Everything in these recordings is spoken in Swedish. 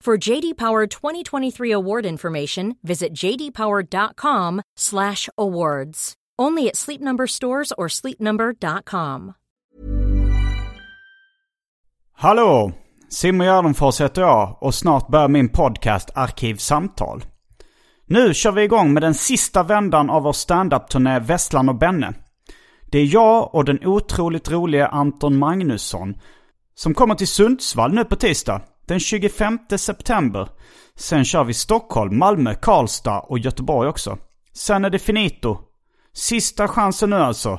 For JD Power 2023 award information, visit jdpower.com/awards. Only at Sleep Number stores or sleepnumber.com. Hallå! Simon Gärdenfors heter jag och snart börjar min podcast Arkivsamtal. Nu kör vi igång med den sista vändan av vår standup-turné Vesslan och Benne. Det är jag och den otroligt roliga Anton Magnusson som kommer till Sundsvall nu på tisdag, den 25 september. Sen kör vi Stockholm, Malmö, Karlstad och Göteborg också. Sen är det finito. Sista chansen nu alltså.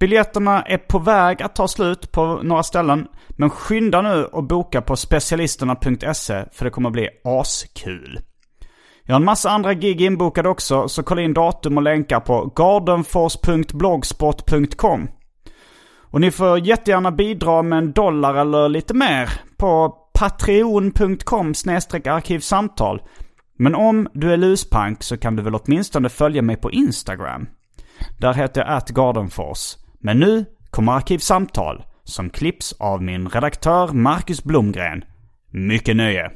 Biljetterna är på väg att ta slut på några ställen. Men skynda nu och boka på specialisterna.se E, för det kommer bli askul. Jag har en massa andra gig inbokade också så kolla in datum och länkar på gardenfors.blogspot.com. Och ni får jättegärna bidra med en dollar eller lite mer på patreon.com arkivsamtal. Men om du är luspank så kan du väl åtminstone följa mig på Instagram. Där heter jag atgardenfors. Men nu kommer Arkivsamtal som klipps av min redaktör Marcus Blomgren. Mycket nöje!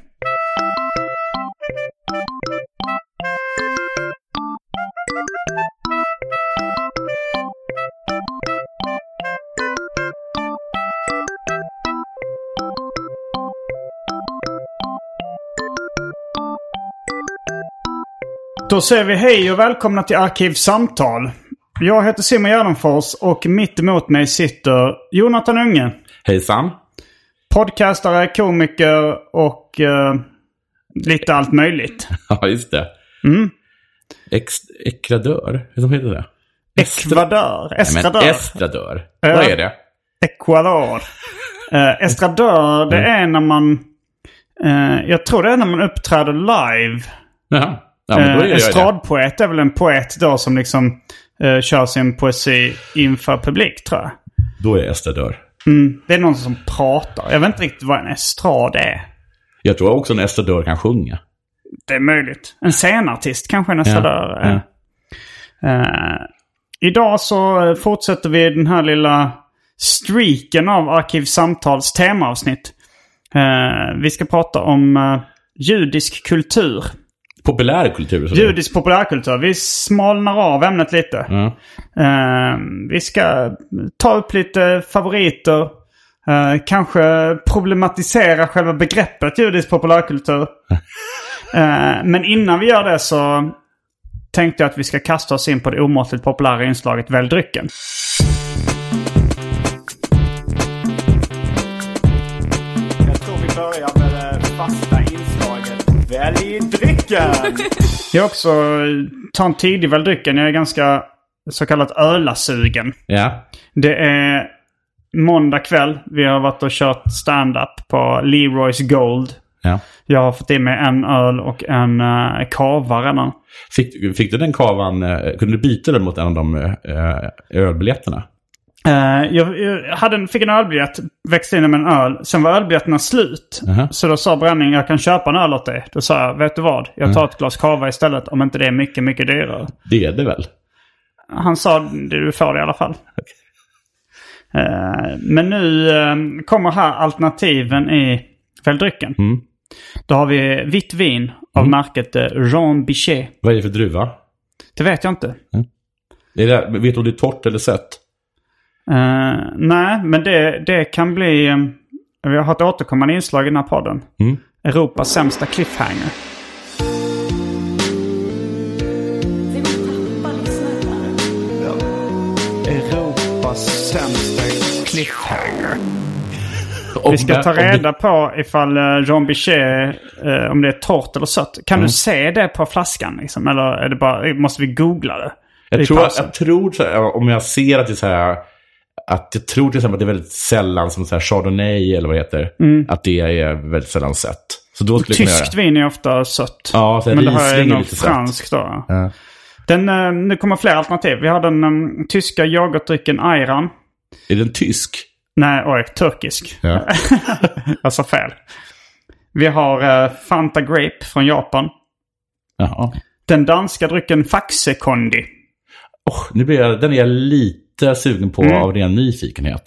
Då säger vi hej och välkomna till Arkivsamtal. Jag heter Simon Gärdenfors och mitt emot mig sitter Jonathan Unge. Hejsan. Podcastare, komiker och eh, lite allt möjligt. Ja, just det. Mm. Ex ekradör? Hur heter det? Ekvadör. Nej, Estradör. men estradör. Vad är det? Ecuador. Eh, estradör, det Mm. är när man... eh, jag tror det är när man uppträder live. Jaha. Ja, men då Eh, är jag det. estradpoet är väl en poet då som liksom eh, kör sin poesi inför publik tror jag. Då är jag estradör. Mm. Det är någon som pratar. Jag vet inte riktigt vad en estrad är. Jag tror också en estradör kan sjunga. Det är möjligt. En scenartist kanske en estradör är. ja. Eh, idag så eh, fortsätter vi den här lilla streaken av Arkivsamtals temaavsnitt. Eh, vi ska prata om eh, judisk kultur. Populärkultur. så det- Judisk populärkultur. Vi smalnar av ämnet lite. Ja. Eh, vi ska ta upp lite favoriter. Eh, kanske problematisera själva begreppet judisk populärkultur. Eh, men innan vi gör det så tänkte jag att vi ska kasta oss in på det omåttligt populära inslaget Välj drycken. Jag tror vi börjar med det fasta inslaget Välj drycken! jag också tar en tidig Välj drycken. Jag är ganska så kallat ölasugen. ja. Det är måndag kväll. Vi har varit och kört stand-up på Leroy's Gold. ja. Jag har fått i mig en öl och en uh, kava redan. Fick, fick du den kavan, eh, kunde du byta den mot en av de eh, ölbiljetterna? Eh, jag jag hade en, fick en ölbiljett, växte in den med en öl. Sen var ölbiljetterna slut. Mhm. Så då sa Bränning, jag kan köpa en öl åt dig. Då sa jag, vet du vad? Jag tar ett glas kava istället om inte det är mycket, mycket dyrare. Det är det väl? Han sa du får det i alla fall. Eh, Men nu eh, kommer här alternativen i väldrycken. Mm. Då har vi vitt vin av märket eh, Jean Bichet. Vad är det för druva? Det vet jag inte. Är det, vet du om det är torrt eller sött? Eh, nej, men det, det kan bli... eh, Vi har ett återkommande inslag i den här podden. Mm. Europas sämsta cliffhanger. vänster cliffhanger. Vi ska ta om det- reda på ifall eh, Jean Bichet, eh, om det är torrt eller sött. Kan Mm. du se det på flaskan liksom? Eller är det bara, måste vi googla det? I Jag tror, pausen? jag tror så här, om jag ser att det är så här, att jag tror till exempel att det är väldigt sällan som så här chardonnay eller vad det heter, Mm. att det är väldigt sällan sött. Så då skulle jag kunna göra Tyskt det. vin är ofta sött. Ja, så här Men det här är Riesling är nog lite sött. franskt då. Ja. Den, eh, nu kommer fler alternativ. Vi har den eh, tyska yoghurtdrycken Ayran. Är den tysk? Nej, oj, turkisk. Ja. Jag sa fel. Vi har eh, Fanta Grape från Japan. Jaha. Den danska drycken Faxekondi. Oh, nu blir jag, den är jag lite sugen på av ren nyfikenhet.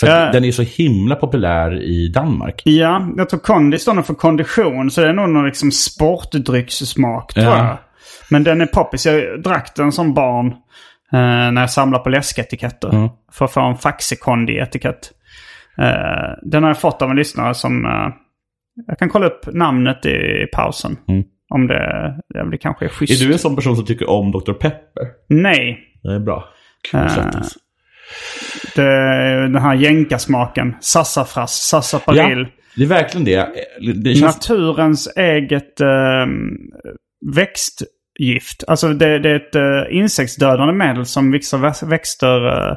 För att Mm. Ja. den är så himla populär i Danmark. Ja, jag tror kondi står nog för kondition. Så det är nog någon liksom sportdryckssmak tror Ja. jag. Men den är poppis. Jag drack den som barn eh, när jag samlade på läsketiketter. Mm. För att få en faxekondi-etikett. Eh, den har jag fått av en lyssnare som... Eh, jag kan kolla upp namnet i pausen. Om det, ja, det kanske är Mm. Är schysst. du en sån person som tycker om Dr. Pepper? Nej, Det är bra. Kul alltså. att svettas. det, den här jänkarsmaken. Sassafras, sassaparil. Ja, det är verkligen det. Det känns naturens eget eh, växtgift. Alltså det, det är ett eh, insektsdödande medel som vissa vä- växter eh,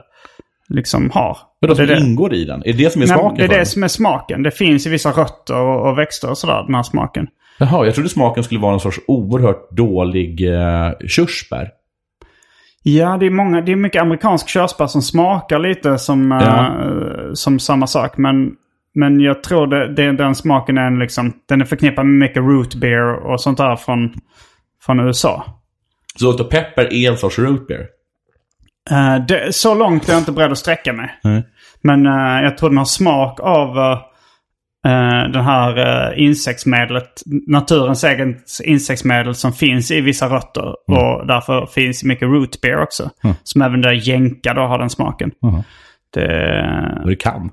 liksom har. Vadå som det, är det- ingår i den? Är det det som är Nej, det smaken? på är den? det som är smaken. Det finns i vissa rötter och, och växter och sådär, den här smaken. Jaha, jag trodde smaken skulle vara någon sorts oerhört dålig eh, körsbär. Ja, det är, många, det är mycket amerikansk körsbär som smakar lite som, eh, Ja. som samma sak. Men, men jag tror det, det, den smaken är en liksom, den är förknippad med mycket root beer och sånt där från, från USA. Så Dr. Pepper är en sorts root beer. Eh, det, så långt är jag inte beredd att sträcka mig. Nej. Men eh, jag tror den har smak av uh, den här eh, insektsmedlet. Naturens eget insektsmedel som finns i vissa rötter. Mm. Och därför finns i mycket root beer också. Som även där jänka då har den smaken. Mm. Det, Och det kan.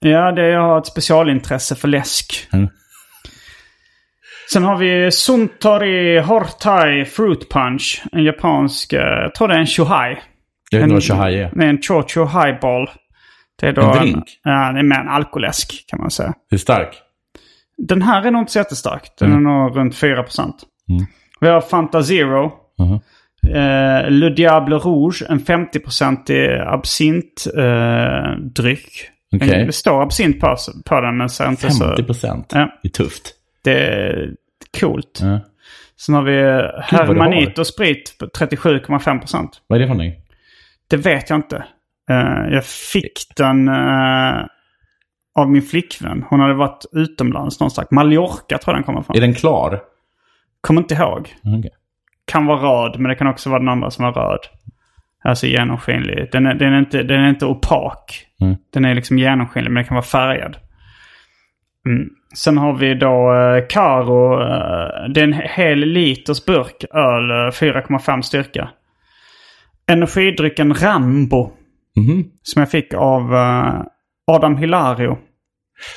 ja, det, jag har ett specialintresse för läsk. Mm. Sen har vi Suntory Hortai Fruit Punch. En japansk, eh, jag tror det är en shohai. Jag vet inte En- vad chahai är. Det är en Chocho Highball. Det är då En drink? ja, det är med en alkoläsk kan man säga. Hur stark? Den här är nog inte så jättestark. Den Mm. är nog runt 4 Vi har Fanta Zero. Mhm. Eh, Le Diable Rouge, en eh, 50-procentig absintdryck. Okej. Det står absint på, på den men ser inte så... 50 procent. Alltså- Ja. Det är tufft. Det är coolt. Ja. Sen har vi vad du Hermanito har. Sprit, på 37,5 Vad är det för någonting? Det vet jag inte. Eh, jag fick den eh, av min flickvän. Hon hade varit utomlands någonstans. Mallorca tror jag den kommer Är från. den klar? Mm, Kommer inte ihåg. Okej. Kan vara röd, men det kan också vara den andra som var röd. Alltså genomskinlig. Den är, den är, inte, den är inte opak. Mm. Den är liksom genomskinlig, men den kan vara färgad. Mm. Sen har vi då eh, Caro. Eh, det är en hel liters burk öl, eh, 4,5 styrka. Energidrycken Rambo. Mhm. Som jag fick av eh, Adam Hilario.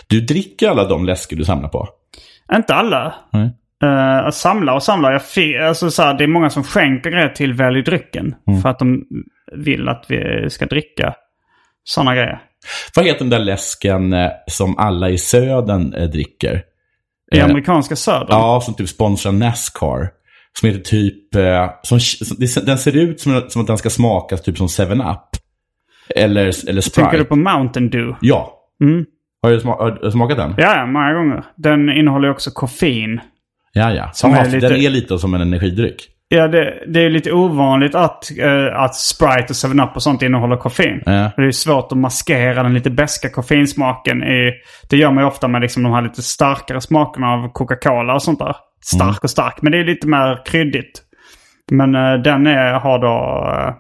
Du dricker alla de läsker du samlar på? Inte alla. Nej. Eh, att samla och samla. Jag fi- alltså, så här, det är många som skänker grejer till Välj drycken. Mm. För att de vill att vi ska dricka sådana grejer. Vad heter den där läsken eh, som alla i södern eh, dricker? I Eh, amerikanska södern. Ja, som typ sponsrar Nascar. Som heter typ... eh, Som, som- det- den ser ut som, som att den ska smaka typ som 7-Up. Eller, eller Sprite. Tänker du på Mountain Dew? Ja. Mm. Har, du sma- har du smakat den? Ja, ja, många gånger. Den innehåller ju också koffein. Ja, ja. Som ja är lite- Den är lite som en energidryck. Ja, det, det är lite ovanligt att, eh, att Sprite och 7-Up och sånt innehåller koffein. Ja. Det är svårt att maskera den lite beska koffeinsmaken. I, det gör man ju ofta med liksom de här lite starkare smakerna av Coca-Cola och sånt där. Stark och stark, men det är lite mer kryddigt. Men eh, den är, har då eh,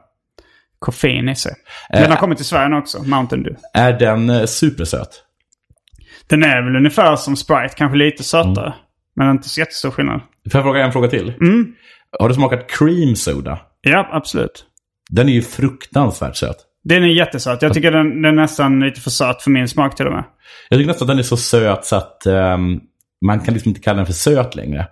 koffein i sig. Den har kommit till Sverige nu också, Mountain Dew. Är den eh, supersöt? Den är väl ungefär som Sprite, kanske lite sötare. Men inte så jättestor skillnad. Får jag fråga en fråga till? Mm. Har du smakat cream soda? Ja, absolut. Den är ju fruktansvärt söt. Den är jättesöt. Jag tycker den, den är nästan lite för söt för min smak till och med. Jag tycker nästan att den är så söt så att ehm, man kan liksom inte kalla den för söt längre.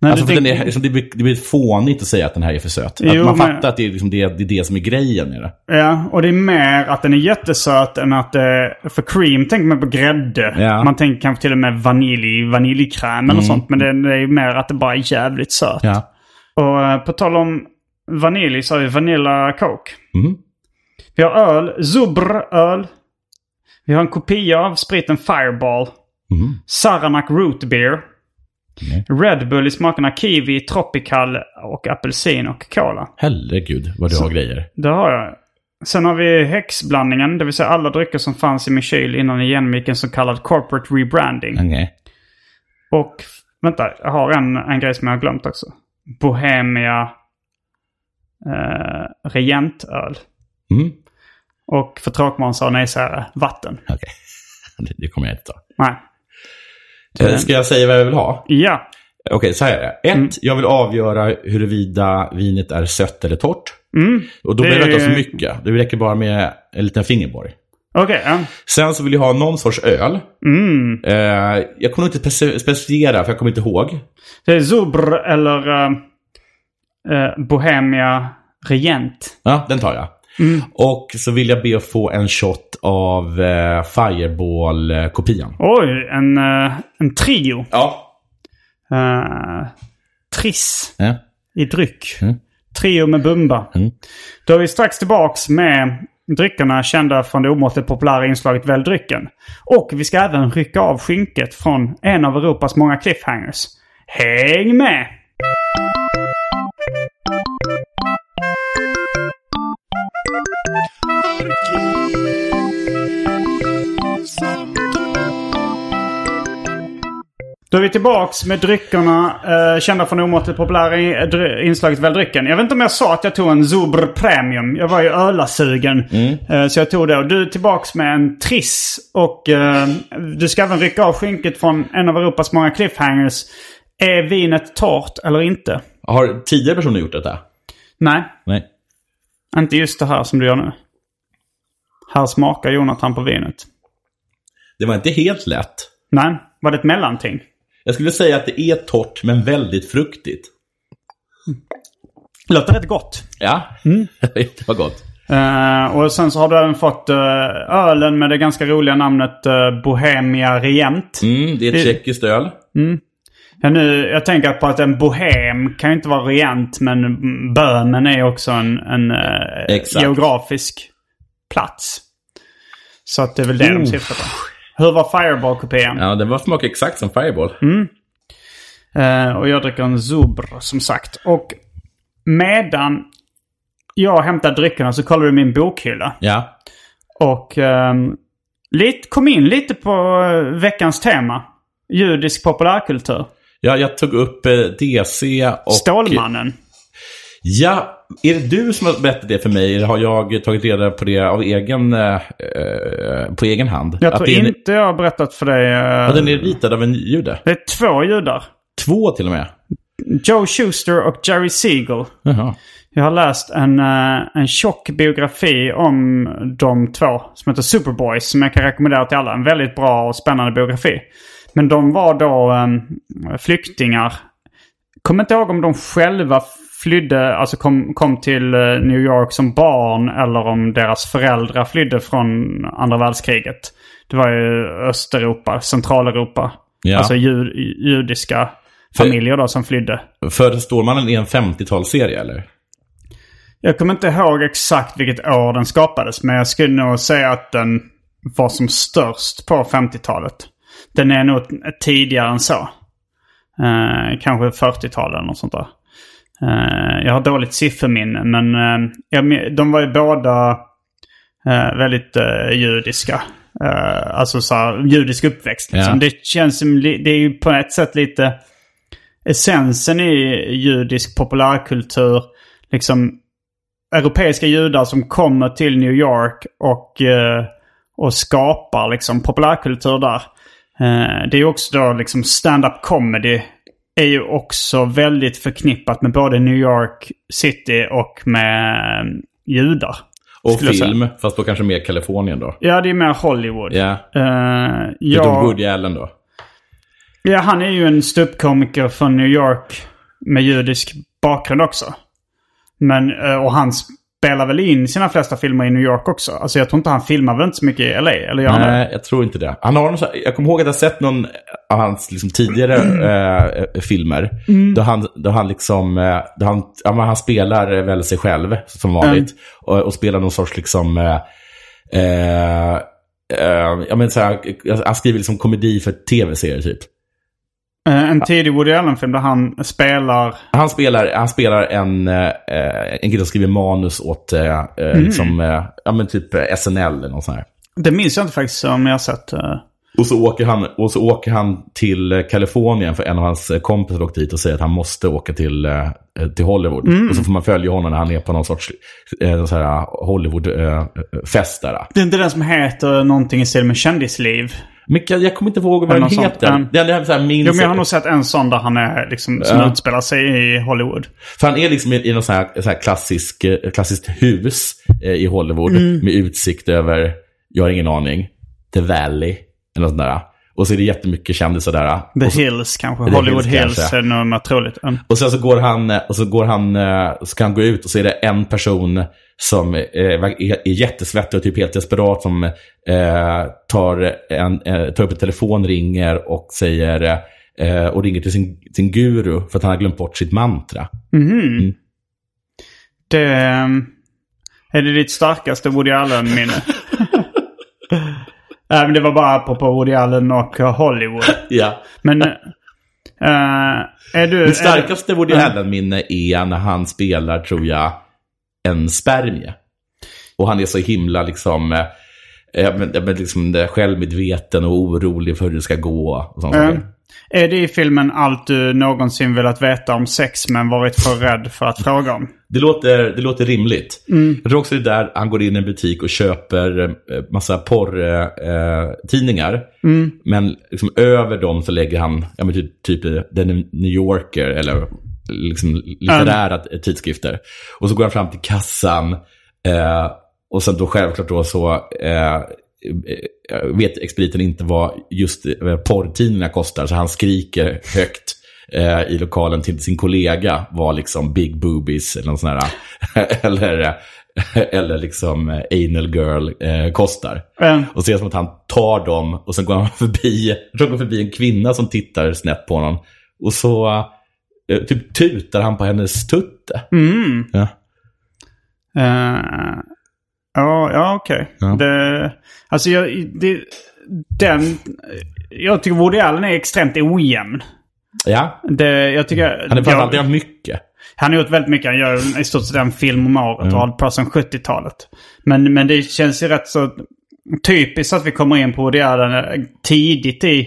Nej, alltså, du för den tänker- är, liksom, det, blir, det blir fånigt att säga att den här är för söt. Jo, att man men- fattar att det är, liksom, det, det är det som är grejen med det. Ja, och det är mer att den är jättesöt än att... eh, För cream tänker man på grädde. Ja. Man tänker kanske till och med vanilj, vaniljkräm eller sånt. Men det, det är ju mer att det bara är jävligt sött. Ja. Och eh, på tal om vanilj så har vi Vanilla Coke. Mm. Vi har öl, Zubröl. Vi har en kopia av spriten Fireball. Mm. Saranac Root Beer. Red Bull i smakerna kiwi, tropical och apelsin och cola. Herregud vad du har grejer. Det har jag. Sen har vi häxblandningen, det vill säga alla drycker som fanns i min kyl innan jag genomgick en så kallad corporate rebranding. Nej. Och vänta, jag har en, en grej som jag har glömt också. Bohemia eh, Regentöl. Mm. Och för tråkmånsar och nejsägare, vatten. Okej. Det, det kommer jag inte ta. Nej. Eh, Ska jag säga vad jag vill ha? Ja. Okej, så här är det. Ett, Mm. jag vill avgöra huruvida vinet är sött eller torrt. Mm. Och då Det- behöver jag inte ha så mycket. Det räcker bara med en liten fingerborg. Okej. ja. Sen så vill jag ha någon sorts öl. mm. Eh, jag kommer nog inte spec- specificera, för jag kommer inte ihåg. Det är Zubr eller eh, eh, Bohemia Regent. Ja, den tar jag. Mm. Och så vill jag be att få en shot av eh, Fireball-kopian. Oj, en, eh, en trio. Ja. Eh, triss. Eh, i dryck. Mm. Trio med Bumba. Mm. Då är vi strax tillbaks med dryckerna kända från det omåttligt populära inslaget Välj drycken. Och vi ska även rycka av skynket från en av Europas många cliffhangers. Häng med! Då är vi tillbaks med dryckerna eh, kända från det omåttligt populära i- dry- inslaget Välj drycken. Jag vet inte om jag sa att jag tog en Zubr Premium. Jag var ju ölasugen. Eh, så jag tog det. Och du är tillbaks med en Triss. Och eh, du ska även rycka av skynket från en av Europas många cliffhangers. Är vinet torrt eller inte? Har tidigare personer gjort detta? Nej, Nej. inte just det här som du gör nu. Här smakar Jonathan på vinet. Det var inte helt lätt. Nej, var det ett mellanting? Jag skulle säga att det är torrt, men väldigt fruktigt. Låter rätt gott. Ja, Mm. det var gott. Eh, och sen så har du även fått eh, ölen med det ganska roliga namnet eh, Bohemia Regent. Mm, det är ett tjeckiskt öl. Ja, nu, jag tänker på att en bohem kan ju inte vara regent men mm, Böhmen är också en, en eh, Exakt. geografisk plats. Så att det är väl det de syftar på. Hur var Fireball-kopian? Ja, den var smakar exakt som Fireball. Mm. Eh, och jag dricker en Zubr som sagt. Och medan jag hämtar dryckerna så kollar du min bokhylla. Ja. Och ehm, lite, kom in lite på eh, veckans tema. Judisk populärkultur. ja, jag tog upp eh, DC och... Stålmannen. Ja, är det du som har berättat det för mig eller har jag tagit reda på det av egen, eh, eh, på egen hand? Jag tror det är, en- inte jag har berättat för dig. eh, Ja, den är ritad av en jude. Det är två judar. Två till och med. Joe Schuster och Jerry Siegel. Jaha. Jag har läst en, eh, en tjock biografi om de två som heter Superboys som jag kan rekommendera till alla. En väldigt bra och spännande biografi. Men de var då eh, flyktingar. Kommer inte ihåg om de själva flydde, alltså kom, kom till eh, New York som barn eller om deras föräldrar flydde från andra världskriget. Det var ju Östeuropa, Centraleuropa. Ja. Alltså ju, judiska familjer då som flydde. För Stålmannen är en 50-talsserie eller? Jag kommer inte ihåg exakt vilket år den skapades, men jag skulle nog säga att den var som störst på 50-talet. Den är nog tidigare än så. Eh, kanske 40-talet eller något sånt där. Eh, jag har dåligt sifferminne, men eh, jag, men- de var ju båda eh, väldigt eh, judiska. Eh, alltså så här, judisk uppväxt. Liksom. Ja. Det känns som, li- det är ju på ett sätt lite essensen i judisk populärkultur. Liksom europeiska judar som kommer till New York och, eh, och skapar liksom populärkultur där. Eh, det är ju också då liksom stand-up comedy är ju också väldigt förknippat med både New York City och med eh, judar. Och Skulle jag säga. film, fast då kanske mer Kalifornien då. Ja, det är mer Hollywood. Ja, Eh, utom jag, Woody Allen då. Ja, han är ju en ståuppkomiker från New York med judisk bakgrund också. Men, eh, och han spelar väl in sina flesta filmer i New York också. Alltså jag tror inte han filmar väl inte så mycket i LA, eller gör han det? Nej, jag tror inte det. Han har någon, så- jag kommer ihåg att jag sett någon av hans liksom, tidigare eh, filmer. Då han, då han liksom, eh, då han, ja, men han spelar väl sig själv som vanligt. Och, och spelar någon sorts liksom, eh, eh, eh, ja, men så här, han skriver liksom komedi för tv-serier typ. Eh, En tidig Woody Allen-film där han spelar... Han spelar, han spelar en, eh, eh, en kille som skriver manus åt eh, eh, liksom, eh, ja, men typ eh, SNL eller något sånt här. Det minns jag inte faktiskt om jag har sett. eh. Och så, åker han, och så åker han till eh, Kalifornien för en av hans eh, kompisar åkte dit och säger att han måste åka till, eh, till Hollywood. Mm. Och så får man följa honom när han är på någon sorts eh, så här Hollywood-fest där. Det är inte den som heter någonting i stil med kändisliv. Men jag, jag kommer inte ihåg vad den något sånt, heter. mm. Det enda jag så här minns... Jo, men jag har nog sett en sån där han är liksom, som utspelar sig i Hollywood. För han är liksom i, i något så här, så här klassisk, eh, klassiskt hus eh, i Hollywood Mm. med utsikt över, jag har ingen aning, The Valley eller något sånt där. Och så är det jättemycket kändisar där. The Hills kanske. The Hollywood Hills Hills, kanske. är nog mer troligt. Mm. Och sen så går han, eh, och så går han, eh, så ska han gå ut och så är det en person som eh, är, är jättesvettig och typ helt desperat som eh, tar, en, eh, tar upp en telefon, ringer och säger eh, och ringer till sin, sin guru för att han har glömt bort sitt mantra. Det... ehm, Är det ditt starkaste Woody Allen-minne? Nej, men det var bara apropå Woody Allen och eh, Hollywood. Ja. Men... eh, är du... är du- Mitt starkaste Mm. Woody Allen-minne är när han spelar, tror jag, en spermie. Och han är så himla liksom, eh, eh, men, men liksom eh, självmedveten och orolig för hur det ska gå. Och sånt Mm. saker. Är det i filmen allt du någonsin velat veta om sex men varit för rädd för att fråga om? Det, låter, det låter rimligt. Jag tror också det är där han går in i en butik och köper eh, massa porrtidningar. Eh, tidningar. Men liksom över dem så lägger han ja, men typ, typ eh, The New Yorker eller liksom litterära t- tidskrifter. Och så går han fram till kassan. Eh, och sen då självklart då så eh, eh, vet expediten inte vad just eh, porrtidningarna kostar. Så han skriker högt eh, i lokalen till sin kollega var liksom big boobies eller någon sån här, eller, eller liksom eh, anal girl eh, kostar. Mm. Och ser som att han tar dem och sen går han förbi, jag tror han går förbi en kvinna som tittar snett på honom. Och så eh, typ tutar han på hennes tutte. Ja. Eh, ja, ja okej. Ja. Det, alltså jag, det, den... Jag tycker Woody Allen är extremt ojämn. ja. Det, jag tycker... Han är jag- framförallt jag... mycket. Han har gjort väldigt mycket. Han gör i stort sett en film om året och har hållit på sedan 70-talet. Men, men det känns ju rätt så typiskt att vi kommer in på Woody Allen eh, tidigt i...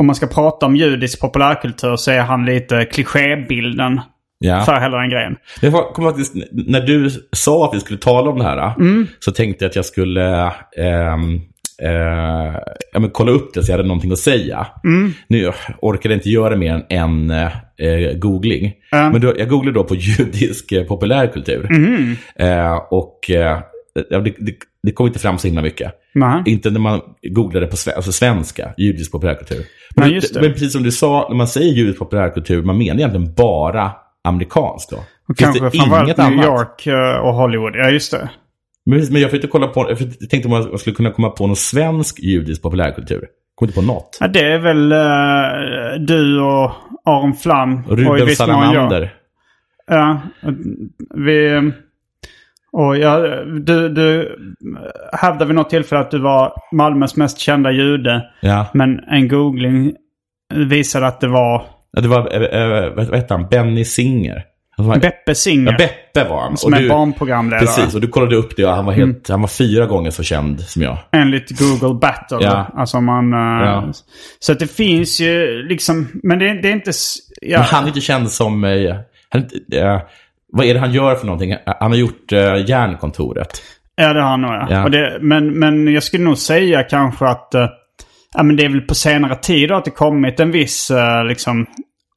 Om man ska prata om judisk populärkultur så är han lite klichébilden Ja. för hela den grejen. Jag har- kommer faktiskt, när du sa att vi skulle tala om det här, så tänkte jag att jag skulle ehm, eh, ja, men kolla upp det så jag hade någonting att säga. Nu orkade jag inte göra mer än en eh, googling. Men då, jag googlade då på judisk eh, populärkultur. Eh, och eh, ja, det, det, det kom inte fram så himla mycket. Nej. Inte när man googlade på sve- alltså svenska, judisk populärkultur. Nej, just det. men precis som du sa, när man säger judisk populärkultur, man menar egentligen bara amerikanskt då. Och Finns det kanske inget framförallt New York annat? eh, och Hollywood. Ja, just det. Men, precis, men jag försökte kolla på, jag försökte- tänkte om jag skulle kunna komma på någon svensk judisk populärkultur. Kom inte på något. Ja, det är väl eh, du och Aron Flam. och i Ruben viss mån jag. Salamander. Ja, vi... Och jag, du, du hävdade vid något tillfälle att du var Malmös mest kända jude. Ja. Men en googling visade att det var Ja, Det var, eh, eh, vad vad hette han, Benny Singer. Han var- Beppe Singer. Ja, Beppe var han. Som är barnprogramledare. Precis, och du kollade upp det och han var, helt, Mm. han var fyra gånger så känd som jag. Enligt Google Battle. Ja. Alltså om man... eh, Ja. Så att det finns ju liksom... Men det, det är inte... s- Ja, Men han är inte känd som... eh, Han, är inte- eh, vad är det han gör för någonting? Han har gjort eh, Järnkontoret. ja det har han nog ja. Ja. Och det, men, men jag skulle nog säga kanske att... eh, ja, men det är väl på senare tid då att det kommit en viss eh, liksom,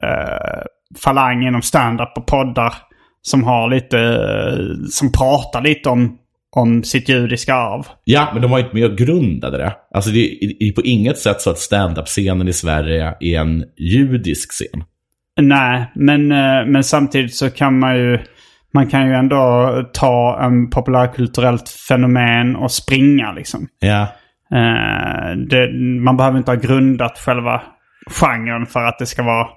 eh, falang inom stand-up och poddar. Som har lite... eh, som pratar lite om om sitt judiska arv. Ja, men de var ju inte med och grundade det. Alltså det är det är på inget sätt så att stand-up-scenen i Sverige är en judisk scen. Nej, men, eh, men samtidigt så kan man ju... Man kan ju ändå ta en populärkulturellt fenomen och springa liksom. Ja. Eh, det, man behöver inte ha grundat själva genren för att det ska vara...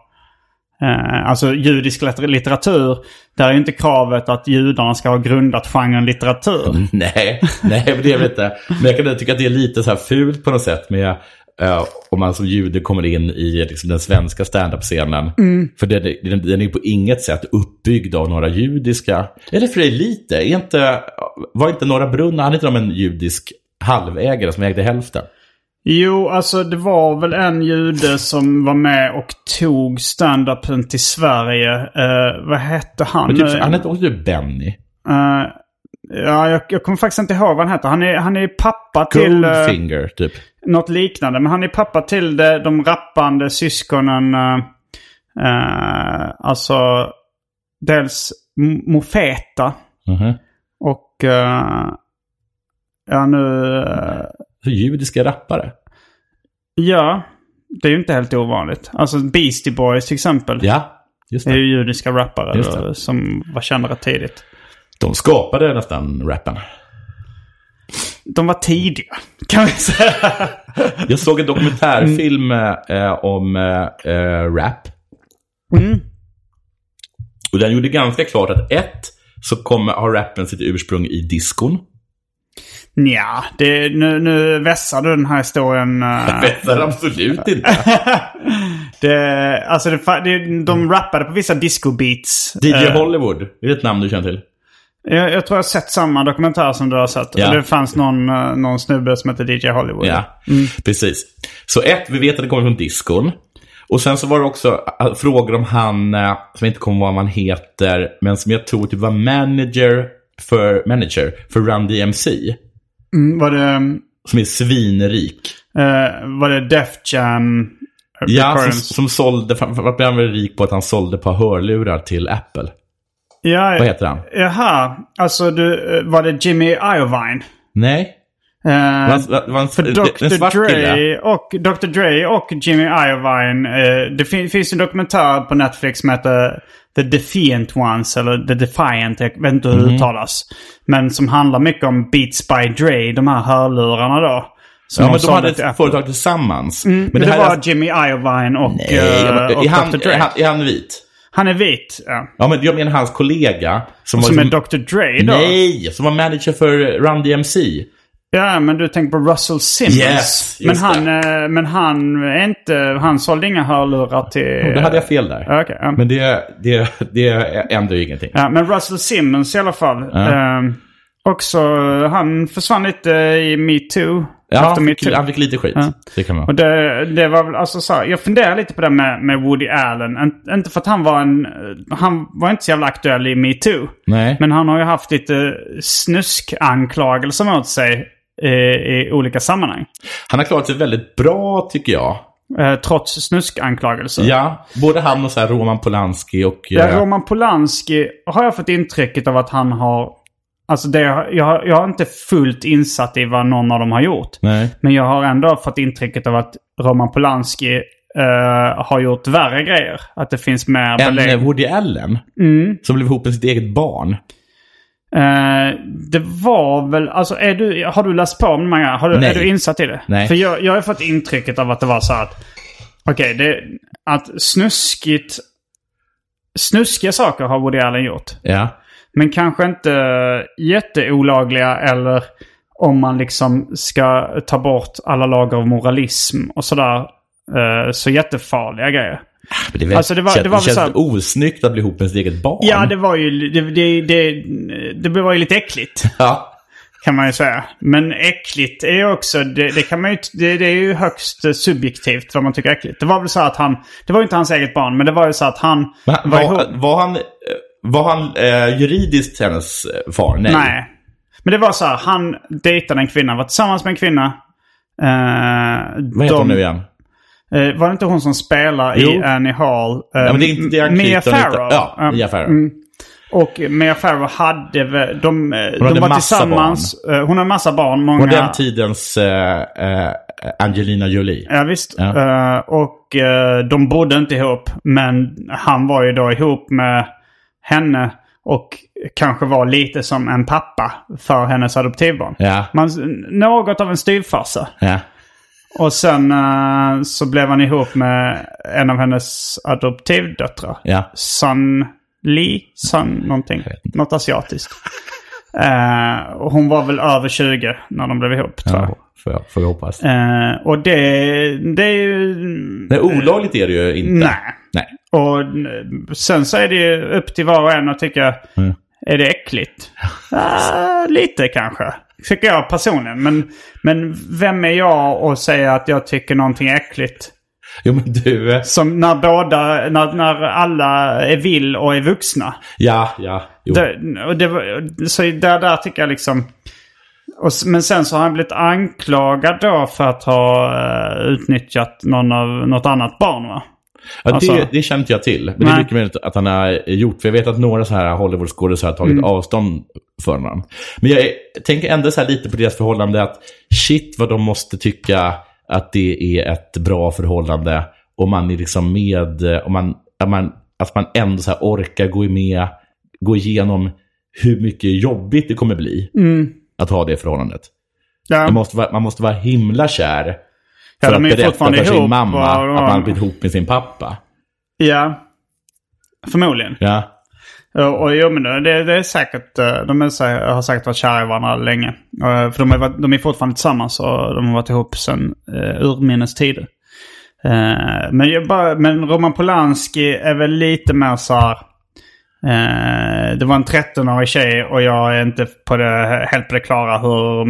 Eh, alltså judisk litter- litteratur, där är ju inte kravet att judarna ska ha grundat genren litteratur. Mm. Nej, nej men det är väl inte. Men jag kan tycka att det är lite så här fult på något sätt med eh, om man som jude kommer in i liksom, den svenska standup-scenen. Mm. För den, den, den är på inget sätt uppbyggd av några judiska... Eller för det är lite. Är inte, var inte Norra Brunn, han inte om en judisk halvägare som ägde hälften? Jo, alltså det var väl en jude som var med och tog stand-upen till Sverige. Eh, vad hette han? Men typ, han hette också typ Benny. Eh, ja, jag, jag kommer faktiskt inte ihåg vad han heter. Han är, han är pappa till eh, Goldfinger, typ. något liknande. Men han är pappa till det, de rappande syskonen. eh, eh, alltså, dels M- Mofeta Mhm. och... eh, ja, nu... eh, Så judiska rappare. ja, det är ju inte helt ovanligt. Alltså Beastie Boys till exempel. Ja, just Det är det. ju judiska rappare Just det. då, som var kända tidigt. De skapade nästan rappen. De var tidiga, kan vi säga. Jag såg en dokumentärfilm eh, om eh, eh, rap. Och den gjorde ganska klart att ett, så kommer, har rappen sitt ursprung i diskon. Nja, det, nu, nu vässar du den här historien. eh, Bättre absolut inte. det, alltså det, fa- det, Mm. de rappade på vissa discobeats. DJ Eh, Hollywood, är det ett namn du känner till? jag, jag tror jag har sett samma dokumentär som du har sett. Ja. Det fanns någon, eh, någon snubbe som hette DJ Hollywood. Ja, precis. Så ett, vi vet att det kommer från diskon. Och sen så var det också eh, frågor om han, eh, som jag inte kommer ihåg vad han heter, men som jag tror typ var manager för, manager för Run DMC. Mm, var, det, Som är svinrik. eh, var det Def Jam? eh, Ja, som, Recordings? som sålde, framförallt blev han väl rik på att han sålde ett par hörlurar till Apple. ja, Vad heter han? Jaha, alltså du, eh, var det Jimmy Iovine? Nej? Eh, Det var, en- det var en, För en Dr. svart kille. Dre, och, Dr. Dre och Jimmy Iovine. Eh, det fin- finns en dokumentär på Netflix som heter The Defiant Ones, eller The Defiant, jag vet inte hur Mhm. det uttalas. Men som handlar mycket om Beats by Dre, de här hörlurarna då. Som Ja, men de sålde hade till ett Apple. Mm, företag tillsammans. Men det, här var är alltså- Jimmy Iovine och, Nej, eh, och är, han, Dr. Dre. är, han, han, är han vit? är vit, ja. Ja, men jag menar hans kollega. Som, Som var, är Dr. Dre då? Nej, som var manager för Run DMC. Ja, men du tänker på Russell Simmons. Yes, men, just han, det. eh, men han är inte... Han sålde inga hörlurar till... Då hade jag fel där. Ja, okej, ja. Men det, det, det ändrar ju ingenting. Ja, men Russell Simmons i alla fall. Ehm, också, han försvann lite i metoo. Ja, efter han, fick, metoo. han fick lite skit. Det kan man. Och det, det var väl alltså så här, jag funderar lite på det med, med Woody Allen. En, inte för att han var en... Han var inte så jävla aktuell i metoo. Nej. Men han har ju haft lite snuskanklagelser mot sig i, i olika sammanhang. Han har klarat sig väldigt bra, tycker jag. Eh, trots snuskanklagelser. Ja, både han och så här Roman Polanski och... eh, Ja, Roman Polanski har jag fått intrycket av att han har... Alltså det, jag, har- jag har inte fullt insatt i vad någon av dem har gjort. Nej. Men jag har ändå fått intrycket av att Roman Polanski eh, har gjort värre grejer. Att det finns mer En belägg. Mm. eh, Woody Allen. Som blev ihop med sitt eget barn. Eh, det var väl... Alltså är du, har du läst på om de här grejerna? Har du, Nej. Är du insatt i det? Nej. För jag, jag har fått intrycket av att det var så här att... Okej, det- att snuskigt... Snuskiga saker har Woody Allen gjort. Ja. Men kanske inte jätteolagliga eller om man liksom ska ta bort alla lager av moralism och sådär. eh, Så jättefarliga grejer. Men det, är väl, Alltså, det var- känns- det var väl känns så här- osnyggt att bli ihop med sitt eget barn. Ja, det var ju det, det, det, det var ju lite äckligt Ja. kan man ju säga. Men äckligt är ju också, det, det, kan man ju, det, det är ju högst eh, subjektivt vad man tycker är äckligt. Det var väl så att han, det var ju inte hans eget barn, men det var ju så att han Men han- var ihop- var, var han, eh, var han eh, juridiskt hennes eh, far? Nej. Nej. Men det var så här, han dejtade en kvinna, var tillsammans med en kvinna. Eh, Vad heter hon de- nu igen? Eh, var det inte hon som spelar i Jo. Annie Hall? Eh, Ja, men det är inte det är Mia anknytning- Farrow. Ja, Mia Farrow. mm. Och Mia Farrow hade väl- de, eh, de hade var massa tillsammans. eh, Hon hade massa barn. Många... Och den tidens eh, eh, Angelina Jolie. Ja visst. Ja. Eh, och eh, de bodde inte ihop. Men han var ju då ihop med henne. Och kanske var lite som en pappa för hennes adoptivbarn. Ja. Man, något av en styvfarsa. Ja. Och sen eh, så blev han ihop med en av hennes adoptivdöttrar. Ja. Sun Li, Sun någonting. Något asiatiskt. Eh, och hon var väl över 20 när de blev ihop tror jag. Ja. Får, jag- får vi hoppas. Eh, och det, det är ju... Nej, olagligt är det ju inte. Nej. Nej. Och eh, sen så är det ju upp till var och en att tycka, är det äckligt? Ah, lite kanske, tycker jag personligen. Men, men vem är jag att säga att jag tycker någonting är äckligt? Jo, men du... eh, Som när båda, när, när alla är vill och är vuxna. Ja, ja. Jo. Det, och det, var- så där, där tycker jag liksom... Och, s- men sen så har han blivit anklagad då för att ha eh, utnyttjat någon av, något annat barn va? Ja, Alltså- det, det känner inte jag till. Men det Nej. är mycket möjligt att han har gjort. För jag vet att några så här Hollywoodskådisar har tagit Mm. avstånd från honom. Men jag är- tänker ändå så här lite på deras förhållande. att Shit vad de måste tycka att det är ett bra förhållande. Om man är liksom med, om man, att man, att man ändå så här orkar gå, med, gå igenom hur mycket jobbigt det kommer bli. Att ha det förhållandet. Mm. Ja. Man måste vara, man måste vara himla kär. Ja, För de att är ju berätta fortfarande för ihop, sin mamma va? att man har blivit ihop med sin pappa. Ja. Förmodligen. Ja. Och, Eh, och jo, men det, det är säkert, eh, de är, sä- har säkert varit kära i varandra länge. Eh, För de är, de är fortfarande tillsammans och de har varit ihop sedan eh, urminnes tider. Eh, men, jag bara, men Roman Polanski är väl lite mer så här... Eh, det var en 13-årig tjej och jag är inte på det, helt på det klara hur,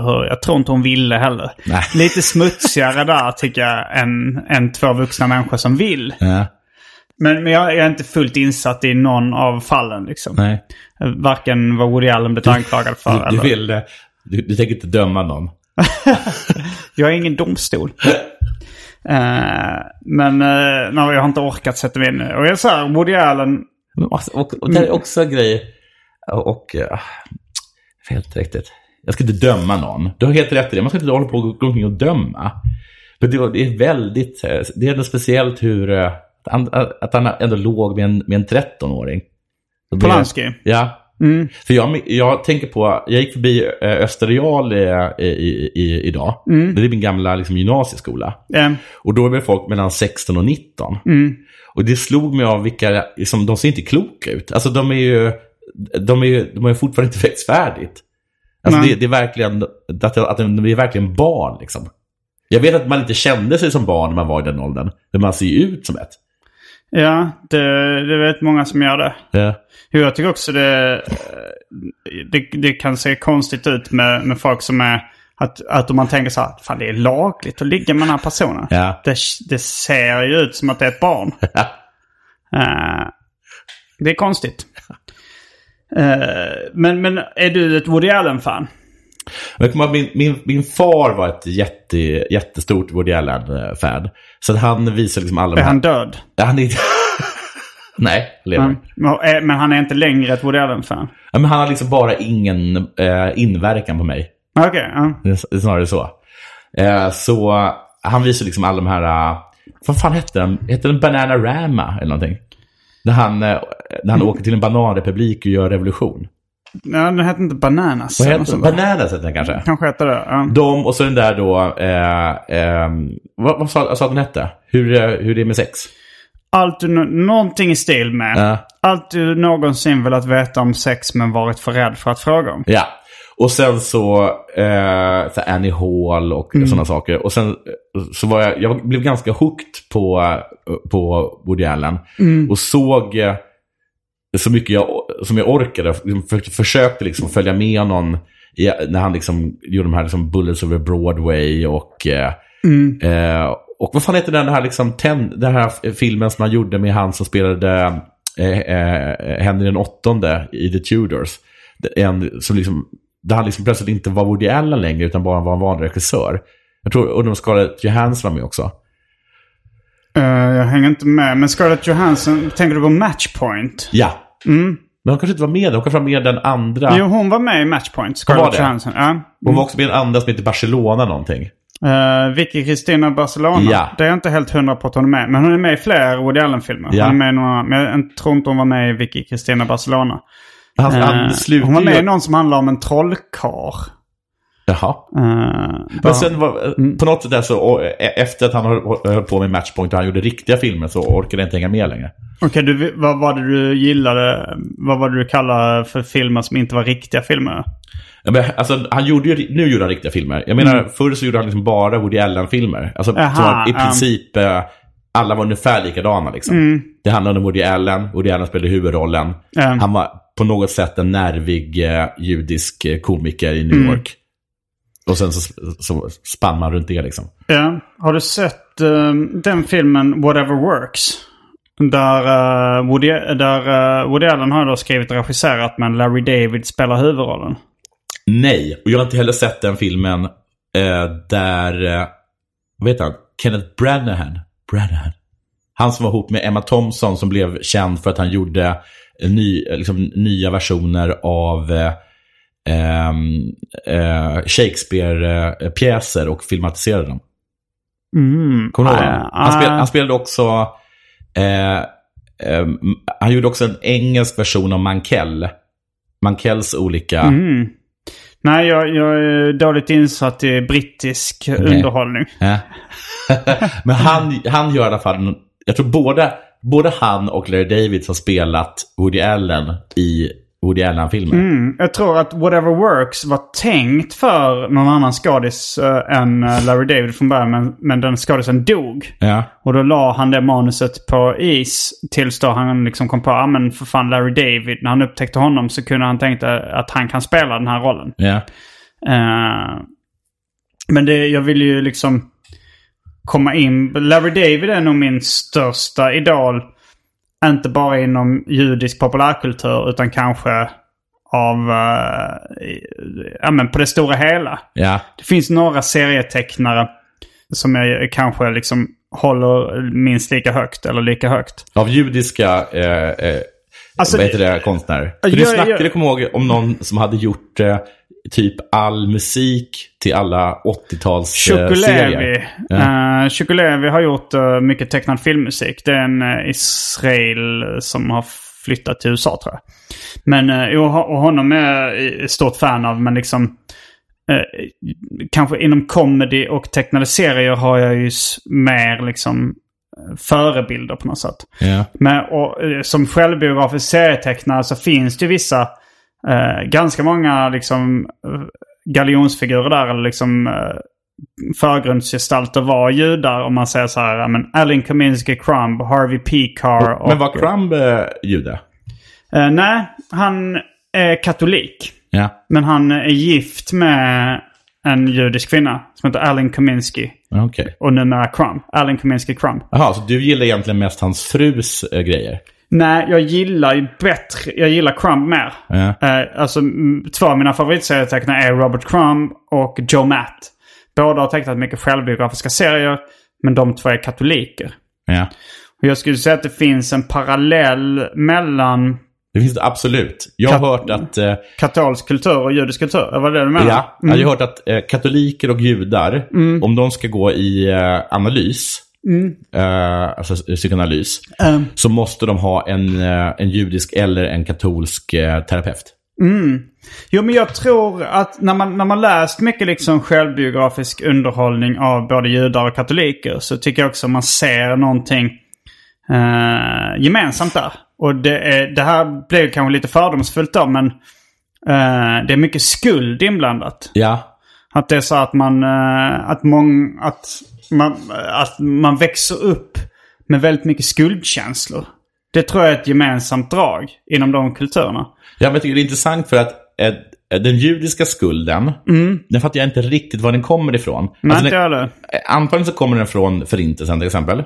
hur... Jag tror inte hon ville heller. Nej. Lite smutsigare där tycker jag än, än två vuxna människor som vill. Ja. Men, men jag är inte fullt insatt i någon av fallen liksom. Nej. Varken vad Woody Allen blivit anklagad för Du, eller... du, vill, eh, du, du tänker inte döma någon. Jag är ingen domstol. Eh, men uh, jag har inte orkat sätta mig in i det. Och jag säger Woody Allen... alltså, Och, och det Mm. är också en grej. Och... eh, Helt riktigt. Jag ska inte döma någon. Du har helt rätt i det. Man ska inte hålla på och gå omkring och döma. Men det, var- det är väldigt... eh, Det är ändå speciellt hur... eh, han- Att han ändå låg med en, med en 13-åring. Det- Polanski. Mm. Ja. För jag, jag tänker på, jag gick förbi eh, Österreal eh, i, i, i, idag. Mm. Det är min gamla liksom, gymnasieskola. eh, Och då är väl folk mellan 16 och 19. Mm. Och det slog mig av vilka, liksom, de ser inte kloka ut. Alltså de är ju, de, är ju, de har ju fortfarande inte växt färdigt. Alltså Nej. det, det är verkligen, att, att de är verkligen barn liksom. Jag vet att man inte kände sig som barn när man var i den åldern. Men man ser ju ut som ett. ja, det, det vet många som gör det. Ja. Jo, Jag tycker också det, eh, det, det kan se konstigt ut med, med folk som är... Att, att om man tänker så här, fan det är lagligt att ligga med den här personen. Ja. Det, det ser ju ut som att det är ett barn. Eh, det är konstigt. Eh, men, men är du ett Woody Allen-fan? Men jag kommer ihåg, min, min, min far var ett jätte, jättestort Woody Allen-fan. Så att han visar liksom alla... Är han död? Ja, han är inte... Nej, han lever. Mm. Men, eh, men han är inte längre ett Woody Allen-fan? Ja, men han har liksom bara ingen eh, inverkan på mig. Okej, ja. Det är snarare så. Eh, så han visar liksom alla de här... eh, Vad fan hette den? Hette den Bananarama eller någonting? Där han, eh, där han åker till en bananrepublik och gör revolution. ja den hette inte Bananas. Vad eller heter den? något sånt. Bananas heter den kanske? Kanske heter det. Ja. De och så den där då... Eh, eh, vad, vad sa, sa den hette? Hur, eh, hur det är med sex? Allt du, nå- någonting i stil med. Ja. Allt du någonsin velat veta om sex men varit för rädd för att fråga om. Ja. Och sen så, eh, så Annie Hall och sådana saker. Och sen eh, så var jag, jag blev ganska hooked på, eh, på Woody Allen. Och såg eh, så mycket jag, som jag orkade. För, försökte liksom följa med honom i, när han liksom gjorde de här liksom Bullets over Broadway och... Eh, eh, och vad fan heter den här, liksom, ten, den här filmen som han gjorde med han som spelade eh, eh, Henry den åttonde i The Tudors? En, som liksom, där han liksom plötsligt inte var Woody Allen längre utan bara var en vanlig regissör. Jag tror, undrar om Scarlett Johansson var med också. Eh, jag hänger inte med. Men Scarlett Johansson, tänker du på Matchpoint? Ja. Men hon kanske inte var med där. Hon kanske var med den andra. Jo, hon var med i Matchpoint, Hon var Scarlett det? Johansson. Ja. Hon var också med i en andra som heter Barcelona någonting. Uh, Vicky Kristina Barcelona. Ja. Det är jag inte helt hundra på att hon är med. Men hon är med i fler Woody Allen-filmer. Ja. Hon är med i några, men jag tror inte hon var med i Vicky Kristina Barcelona. Han, Eh, han slutar hon var med ju- i någon som handlar om en trollkarl. Jaha. Eh, bara- Men sen var, Mm. på något sätt där så, och, e- efter att han höll höll på med Matchpoint och han gjorde riktiga filmer så orkade jag inte hänga med längre. Okej, du, vad var det du gillade? Vad var det du kallade för filmer som inte var riktiga filmer? Ja, Men, alltså, han gjorde ju, nu gjorde han riktiga filmer. Jag menar, förr så gjorde han liksom bara Woody Allen-filmer. Alltså, Mm. Aha, som var i ja. princip, eh, alla var ungefär likadana liksom. Det handlade om Woody Allen, Woody Allen spelade huvudrollen. Mm. Han var på något sätt en nervig eh, judisk eh, komiker i New Mm. York. Och sen så, så spann man runt det liksom. Ja. Har du sett eh, den filmen Whatever Works? Där, eh, Woody, där eh, Woody Allen har då skrivit och regisserat men Larry David spelar huvudrollen. Nej, och jag har inte heller sett den filmen eh, där, eh, vad heter han, Kenneth Branagh, Branagh, han som var ihop med Emma Thompson som blev känd för att han gjorde eh, ny, eh, liksom, nya versioner av eh, ehm, eh, Shakespeare-pjäser och filmatiserade dem. Mm. Kommer du ihåg Ah, honom? han, spel, ah. han spelade också, eh, ehm, han gjorde också en engelsk version av Mankell. Mankells olika... Mm. Nej, jag, jag är dåligt insatt i brittisk underhållning. Ja. Men han, han gör i alla fall, jag tror både, både han och Larry David har spelat Woody Allen i Woody Allen-filmer. Mm. Jag tror att Whatever Works var tänkt för någon annan skådis eh, än eh, Larry David från början. Men, men den skådisen dog. Ja. Och då la han det manuset på is tills då han liksom kom på, ja men för fan Larry David, när han upptäckte honom så kunde han tänka att han kan spela den här rollen. Ja. Eh, men det, jag vill ju liksom komma in. Larry David är nog min största idol. Inte bara inom judisk populärkultur utan kanske av, eh, i- ja men på det stora hela. Ja. Det finns några serietecknare som jag kanske liksom håller minst lika högt eller lika högt. Av judiska eh, eh, Alltså, vad heter det, konstnärer. För du jag- snackade, jag- kommer jag ihåg, om någon som hade gjort eh, typ all musik till alla 80-talsserier. Chukulevi. Eh, Chukulevi har gjort eh, mycket tecknad filmmusik. Det är en eh, Israel som har flyttat till USA tror jag. Men eh, och, ho- och honom är jag stort fan av. Men liksom eh, kanske inom comedy och tecknade serier har jag ju s- mer liksom eh, förebilder på något sätt. ja. Men och, eh, som självbiografisk serietecknare så finns det ju vissa, eh, ganska många liksom eh, galjonsfigurer där, eller liksom eh, förgrundsgestalter var judar om man säger så här, ja, men Alan Kaminski Crumb, Harvey P. Carr och... Men var Crumb eh, jude? Eh, nej, han är katolik. Ja. Men han är gift med en judisk kvinna som heter Alan Kaminski. Okej. Och numera Crumb. Alan Kaminski Crumb. Jaha, så du gillar egentligen mest hans frus eh, grejer? Nej, jag gillar ju bättre. Jag gillar Crumb mer. Ja. Eh, alltså, mm, två av mina favoritserietecknare är Robert Crumb och Joe Matt. Båda har tecknat mycket självbiografiska serier, men de två är katoliker. Ja. Och jag skulle säga att det finns en parallell mellan Det finns det absolut. Jag har hört att, eh, katolsk kultur och judisk kultur. Var det det du menade? ja, jag Mm. har hört att eh, katoliker och judar, om de ska gå i eh, analys, Mm. eh, alltså psykoanalys, Eh. så måste de ha en, eh, en judisk eller en katolsk eh, terapeut. Jo, men jag tror att när man, när man läst mycket liksom självbiografisk underhållning av både judar och katoliker så tycker jag också man ser någonting eh, gemensamt där. Och det, är, det här blir kanske lite fördomsfullt då, men eh, det är mycket skuld inblandat. Ja, Att det är så att man, eh, att mång, att man, att man växer upp med väldigt mycket skuldkänslor. Det tror jag är ett gemensamt drag inom de kulturerna. Ja, men jag tycker det är intressant för att eh, den judiska skulden, den fattar jag inte riktigt var den kommer ifrån. Men Alltså, inte den, Mm. jag det. eh, antagligen så kommer den från förintelsen till exempel.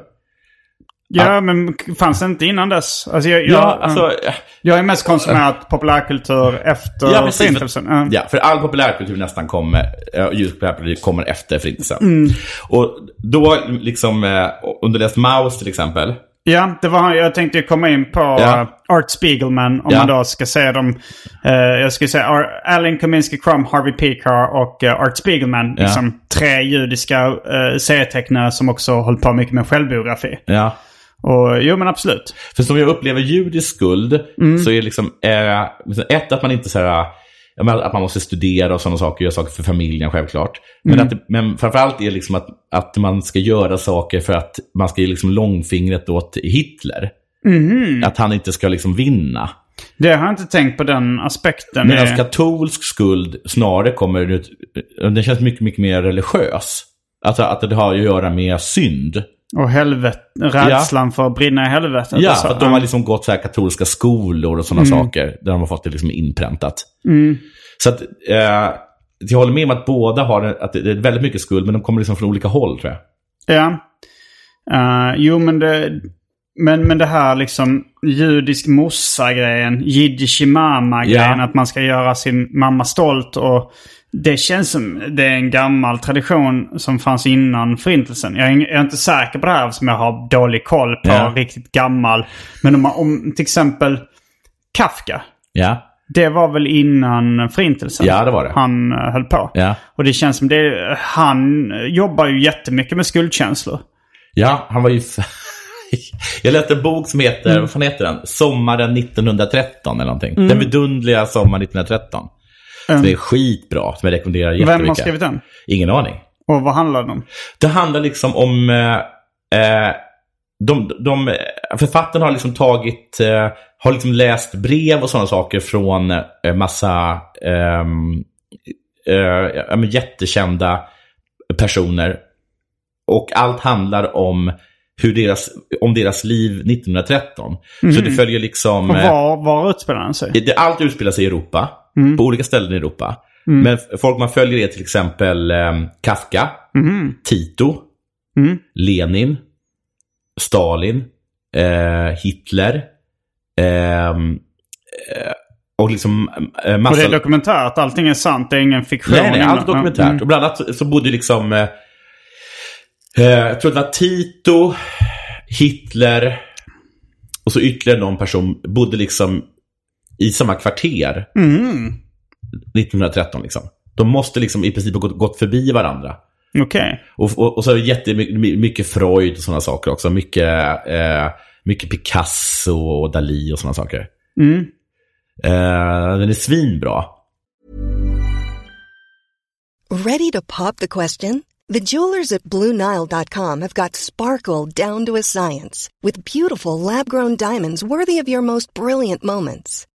Ja, men fanns det inte innan dess? Alltså, jag, jag, Ja, alltså, eh, jag är mest konsumerat populärkultur efter Ja, precis. Förintelsen. Ja. Ja, för all populärkultur nästan kommer, eh, judisk populärkultur kommer Mm. efter förintelsen. Och då, liksom, eh, om du läst Maus till exempel, Ja, det var han. Jag tänkte komma in på Ja. eh, Art Spiegelman. Om Ja. man då ska säga dem. eh, jag skulle säga Ar- Alan Kaminski Crumb, Harvey Pekar och eh, Art Spiegelman. Ja. Liksom tre judiska uh, serietecknare som också håller på mycket med självbiografi. Ja. Och jo men absolut. För som jag upplever judisk skuld så är liksom, eh, liksom ett att man inte så här, ja, men att man måste studera och sådana saker, göra saker för familjen självklart. Men, att, det- men framförallt är liksom att, att man ska göra saker för att man ska ge liksom långfingret åt Hitler. Att han inte ska liksom vinna. Det har jag inte tänkt på den aspekten. Medan Det- katolsk skuld snarare kommer ut, den känns mycket, mycket mer religiös. Alltså att det har att göra med synd. Och helvet, rädslan för att brinna i helvetet. Ja, Mm. och så. för att de har liksom gått så här katolska skolor och sådana saker. Där de har fått det liksom inpräntat. Mm. Så att, eh, jag håller med om att båda har en- att det är väldigt mycket skuld, men de kommer liksom från olika håll tror jag. Ja. Eh, jo, men det, men, men det här liksom judisk morsa-grejen, jiddisch mamma-grejen, Ja. att man ska göra sin mamma stolt. och Det känns som det är en gammal tradition som fanns innan förintelsen. Jag är, ing- jag är inte säker på det här som jag har dålig koll på, Ja. riktigt gammal. Men om, man- om till exempel Kafka. Ja, Det var väl innan förintelsen? Ja, det var det. Han eh, höll på. Ja. Och det känns som det... Han jobbar ju jättemycket med skuldkänslor. ja han var ju... jag läste en bok som heter, vad fan heter den? Sommaren 1913 eller någonting. Den vidundliga sommaren 1913. Som är skitbra, som jag rekommenderar jättemycket. Ehm, Vem har skrivit den? Ingen aning. Och vad handlar den om? Det handlar liksom om... Eh, eh, de, de, författaren har liksom tagit... Eh, har liksom läst brev och sådana saker från eh, massa ehm, eh, ja, men jättekända personer. Och allt handlar om hur deras, om deras liv 1913. Så det följer liksom... Och eh, var, var utspelar den sig? det, allt utspelar sig i Europa, Mm. på olika ställen i Europa. Men f- folk man följer är till exempel eh, Kafka, Tito, Mm-hmm. Mm. Lenin, Stalin, eh, Hitler. ehm, eh, och liksom eh, Och massa... det är dokumentärt, allting är sant, det är ingen fiktion. Nej, nej, allt Mm. dokumentärt. Och bland annat så- så bodde ju liksom... Eh, eh, jag tror det var Tito, Hitler och så ytterligare någon person bodde liksom i samma kvarter. Mm. 1913 liksom. De måste liksom i princip ha gått, gått förbi varandra. Mm. Okej. Och, och, och så är det jättemy- mycket Freud och sådana saker också. Mycket, eh, mycket Picasso och Dalí och sådana saker. Mm. Eh, den är svinbra. Ready to pop the question? The jewelers at BlueNile.com have got sparkle down to a science with beautiful lab grown diamonds worthy of your most brilliant moments.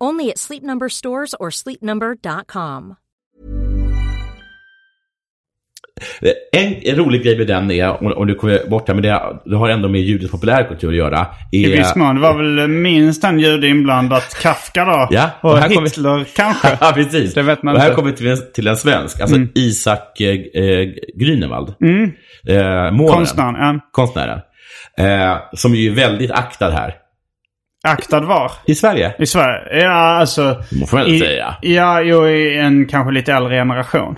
Only at Sleep Number stores or sleepnumber.com. En rolig grej med den är, om- om du kommer bort här, men det, det har ändå med judisk populärkultur att göra. I är- viss mån. Det var väl minst en jude inblandat, Kafka då. Ja, och, och här kommer- Hitler kanske. ja, precis. Det vet man och här inte. kommer vi till en, till en svensk, alltså Isak eh, eh, Grünewald. Eh, målaren. Konstnären. Ja. Konstnären. Eh, som ju är väldigt aktad här. Aktad var? I Sverige? I Sverige? Ja, alltså... Det får man väl i, säga. Ja, jo, i en kanske lite äldre generation.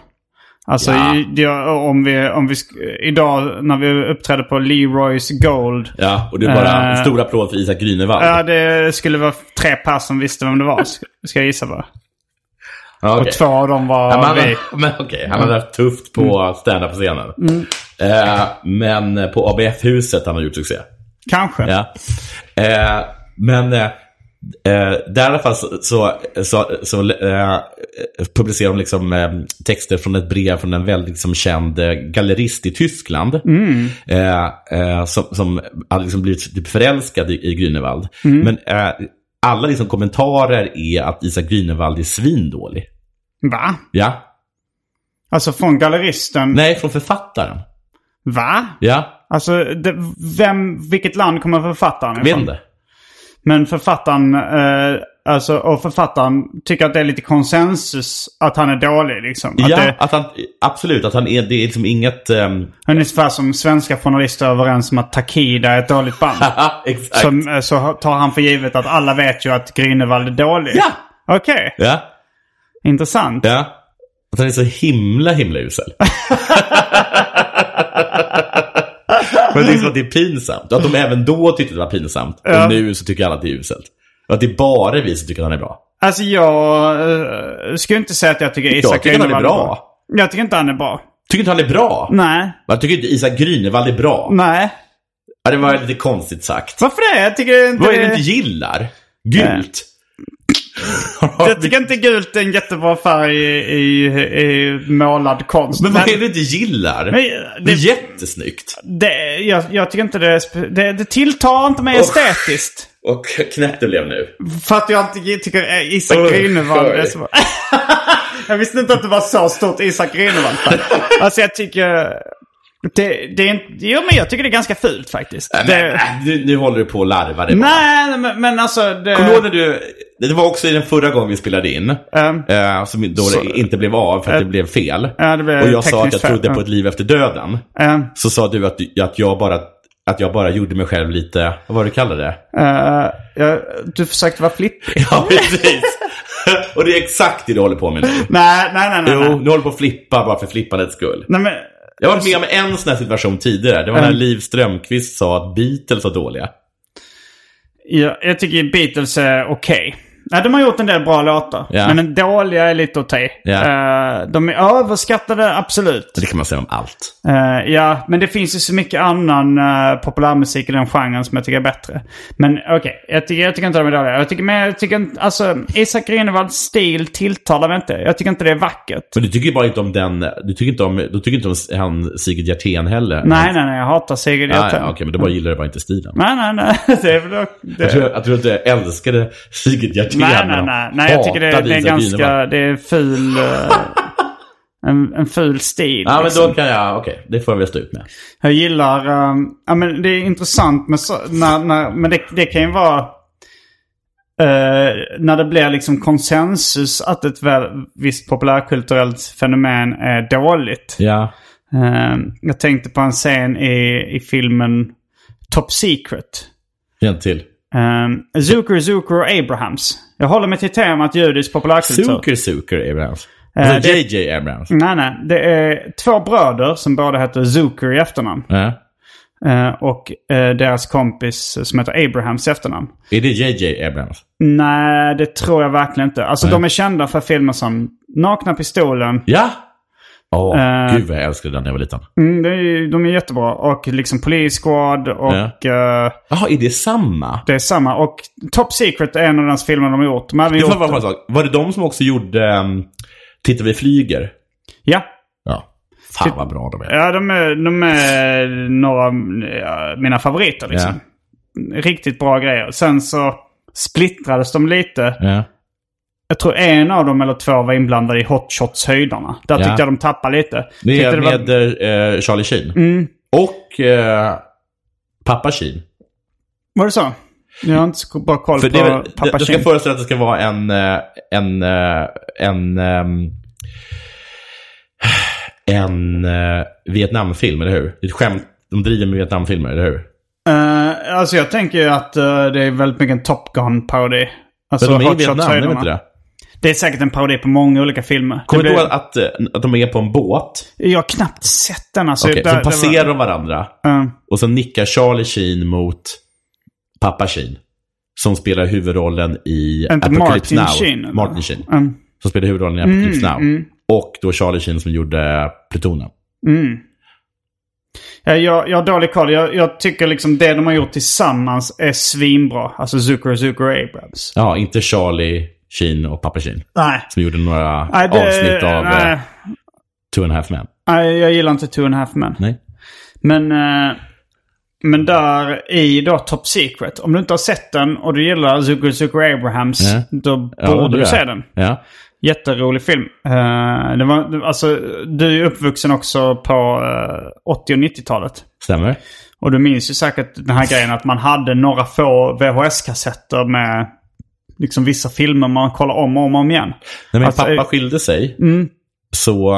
Alltså Ja. i, det, om vi, om vi, sk- idag när vi uppträdde på Leroy's Gold. Ja, och det är bara Eh. en stor applåd för Isak Grünewald. Ja, det skulle vara tre pass som visste vem det var. Ska ska jag gissa på. Ja, okej. Och två av dem var Ja, men han, vi. Mm. men okej, han har haft tufft på standup-scenen. Eh, men på ABF-huset han har gjort succé. Kanske. Ja. Eh, men eh, eh, där i alla fall så, så, så, så eh, publicerar de liksom, eh, texter från ett brev från en väldigt liksom, känd eh, gallerist i Tyskland. Eh, eh, som, som hade liksom blivit typ förälskad i, i Grünewald. Men eh, alla liksom, kommentarer är att Isak Grünewald är svindålig. Va? Ja. Alltså från galleristen? Nej, från författaren. Va? Ja, Alltså, det, vem, vilket land kommer författaren vet inte. Men författaren, eh, alltså, och författaren tycker att det är lite konsensus att han är dålig liksom. Att ja, det, att han, absolut. Att han är, det är liksom inget... ehm, ungefär som svenska journalister är överens om att Takida är ett dåligt band. ah, exakt. Som, eh, så tar han för givet att alla vet ju att Grünewald är dålig. Ja! Okej, Ja, intressant. ja. Att han är så himla, himla usel. Men det är som att det är pinsamt. Och att de även då tyckte det var pinsamt. Och nu så tycker alla att det är uselt. Och att det är bara vi som tycker att han är bra. Alltså jag eh, skulle inte säga att jag tycker Isak tycker han är Grünewald bra. Jag tycker inte han är bra. Tycker inte han är bra? Nej. Jag tycker inte Isak Grünewald är bra. Nej. Ja, det var lite konstigt sagt. Varför det? Jag tycker inte... Vad är det du inte gillar? Gult? Jag tycker inte gult är en jättebra färg i, i, i målad konst. Men vad är det du inte gillar? Men, Det är det, jättesnyggt. det, jag, jag tycker inte det, är spe- det... Det tilltar inte mig Oh. estetiskt. Och knäppt det blev nu. För att jag inte gi- tycker eh, Isak Oh, Grünewald är sorry. så... jag visste inte att det var så stort Isak Grünewald. alltså jag tycker... Det, det är inte... Jo men jag tycker det är ganska fult faktiskt. Det, Nu, nu håller du på att larva dig. nej men, men alltså... Det, Kommer du ihåg när du... Eh, Det var också i den förra gången vi spelade in. Ehm, eh, som då så- eh, det inte blev av för att det blev fel. ja, det blev och jag sa att jag tekniskt fel, trodde ja. på ett liv efter döden. ehm, Så sa du att, du- att, jag bara, att jag bara gjorde mig själv lite... Vad var det du kallade det? eh, jag, du försökte vara flippig. Ja, precis. och det är exakt det du håller på med nu. Nej, nej, nej. nej, nej. Jo, nu håller du på att flippa bara för flippandets skull. Nej men, Jag har varit med om en sån här situation tidigare. Det var när Eh. Liv Strömquist sa att Beatles var dåliga. jag, jag tycker Beatles är okej. Nej, de har gjort en del bra låtar. Ja. Men den dåliga är lite att ta i. Ja. Eh, De är överskattade, absolut. Det kan man säga om allt. Eh, ja, men det finns ju så mycket annan eh, populärmusik i den genren som jag tycker är bättre. Men okej, jag, tycker, jag tycker inte de är dåliga. Jag tycker, men jag tycker inte, alltså Isak Grünewalds stil tilltalar mig inte. Jag tycker inte det är vackert. Men du tycker ju bara inte om den, du tycker inte om, du tycker inte om han Sigrid Hjertén heller? Nej, nej, nej, jag hatar Sigrid Ah, Hjertén. ja, okej, men du bara gillar du bara inte stilen. Eh. Nej, nej, nej. Det är väl dock- Jag det. tror, jag tror att jag älskade Sigrid Hjertén. Nej, nej, men nej. nej jag tycker det, hatade det är Isak Grünewald. ganska, det är ful, eh, en, en ful stil. Ja, men liksom. då kan jag, okej, det får jag väl stå ut med. Jag gillar, ehm, ja men det är intressant med så, när, när, men det, det kan ju vara eh, när det blir liksom konsensus att ett väl, visst populärkulturellt fenomen är dåligt. Ja. Ehm, jag tänkte på en scen i, i filmen Top Secret. En till. Um, Zucker, Zucker och Abrahams. Jag håller mig till temat judisk populärkultur. Zucker Zucker Abrahams. Eh, Alltså det- JJ Abrahams. Nej, nej. Det är två bröder som båda heter Zucker i efternamn. Ja. Eh, och eh, deras kompis som heter Abrahams i efternamn. Är det JJ Abrahams? Nej, det tror jag verkligen inte. Alltså de är kända för filmer som Nakna Pistolen. Ja! Åh, Eh. gud vad jag älskade den när jag var liten. Mm, det är, ju- de är jättebra. Och liksom Police Squad och eh, Jaha, är det samma? det är samma. Och Top Secret är en av deras filmer de har gjort. De har även Det var, gjort... bara en sak. var det de som också gjorde um, Titta vi flyger? Ja. Ja. Typ- Fan vad bra de är. Ja, de är, de är några av ja, mina favoriter liksom. Riktigt bra grejer. Sen så splittrades de lite. Ja. Jag tror en av dem eller två var inblandade i Hot Shots-höjderna. Där Ja. tyckte jag de tappade lite. Det Tyckte är det var- Mm. med eh, Charlie Sheen. Och eh, pappa Sheen. Var det så? Jag har inte så bra koll För på det är, väl- pappa jag ska Sheen. föreställa att det ska vara en... eh, en, eh, en ehm, eh, en eh, Vietnamfilm, eller hur? Det är ett skämt. De driver med Vietnamfilmer, eller hur? Eh, alltså jag tänker ju att eh, det är väldigt mycket en Top Gun-parodi. Alltså Men de är i Hot Vietnam, är de Shots-höjderna. inte det? Det är säkert en parodi på många olika filmer. Kommer Det du ihåg blir- att, eh, att de är på en båt? Jag har knappt sett den alltså. Okej, Där- så det var- passerar de varandra. Ja. Och sen nickar Charlie Sheen mot pappa Sheen. Som spelar huvudrollen i Inte Apocalypse Martin Now. Sheen, eller? Martin Sheen. Mm. Som spelar huvudrollen i Apocalypse Now. Och då Charlie Sheen som gjorde Plutonen. Mm. Ja, jag, jag har dålig koll. Jag, jag tycker liksom det de har gjort tillsammans är svinbra. Alltså Zucker och Zucker Abrams. Ja, inte Charlie Sheen och pappa Sheen. Nej. Som gjorde några Nej, det- avsnitt av nej. eh, Two and a half men. Nej, jag gillar inte Two and a Half Men. Nej. Men, eh, men där i då Top Secret. Om du inte har sett den och du gillar Zucker och Zucker Abrahams. Ja. Då Ja, borde det du är. se den. Ja. Jätterolig film. Eh, det var, alltså, du är ju uppvuxen också på eh, 80 och 90-talet. Stämmer. Och du minns ju säkert den här grejen att man hade några få VHS-kassetter med liksom vissa filmer man kollar om och om, och om igen. När min Alltså, pappa eh, skilde sig, så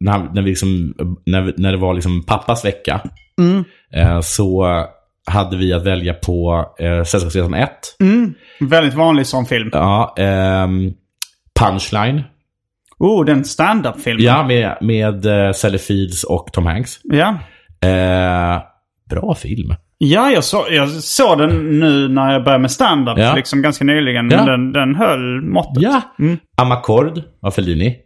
när, han- när, vi liksom, när, vi- när det var liksom pappas vecka, Mm. eh, så hade vi att välja på eh, Sällskapsresan 1. Mm. Väldigt vanlig sån film. Ja, ehm, Punchline. Oh, den stand-up-filmen. Ja, med, med eh, Sally Fields och Tom Hanks. ja. Eh, bra film. Ja, jag, så, jag såg den nu när jag började med stand-up Ja. liksom ganska nyligen. Ja. Men den, den höll måttet. Ja. Amakord av Fellini.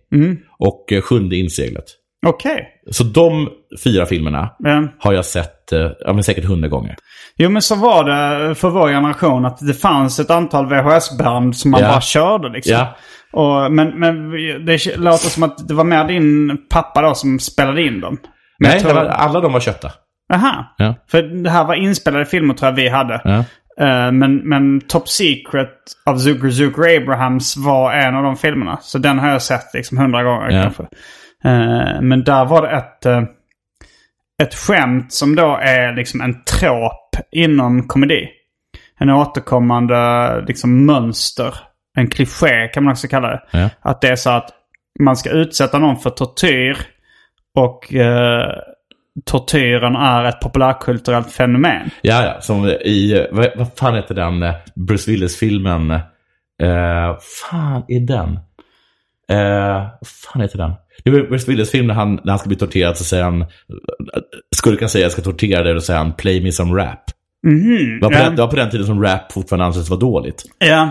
Och eh, Sjunde inseglet. Okej. Så de fyra filmerna Ja. har jag sett eh, ja, men säkert hundra gånger. Jo, men så var det för vår generation att det fanns ett antal VHS-band som man Ja. bara körde liksom. Ja. Och, men, men det låter som att det var mer din pappa då som spelade in dem. Men Nej, jag tror- alla- alla de var köpta. Aha. Ja. För det här var inspelade filmer tror jag vi hade. Ja. Eh, Men, men Top Secret av Zucker Zucker Abrahams var en av de filmerna. Så den har jag sett liksom hundra gånger Ja. kanske. Eh, Men där var det ett, eh, ett skämt som då är liksom en tråp inom komedi. En återkommande liksom mönster. En kliché kan man också kalla det. Ja. Att det är så att man ska utsätta någon för tortyr. Och eh, tortyren är ett populärkulturellt fenomen. Ja, ja. Som i, eh, vad, vad fan heter den eh, Bruce Willis-filmen? Eh, fan är den? Eh, vad fan heter den? Det är Bruce Willis-film när han, när han ska bli torterad så säger han, eh, skurken säger jag ska tortera dig och säger han play me some rap. Mhm. Det var, på ja. den, det var på den tiden som rap fortfarande ansågs vara dåligt. Ja.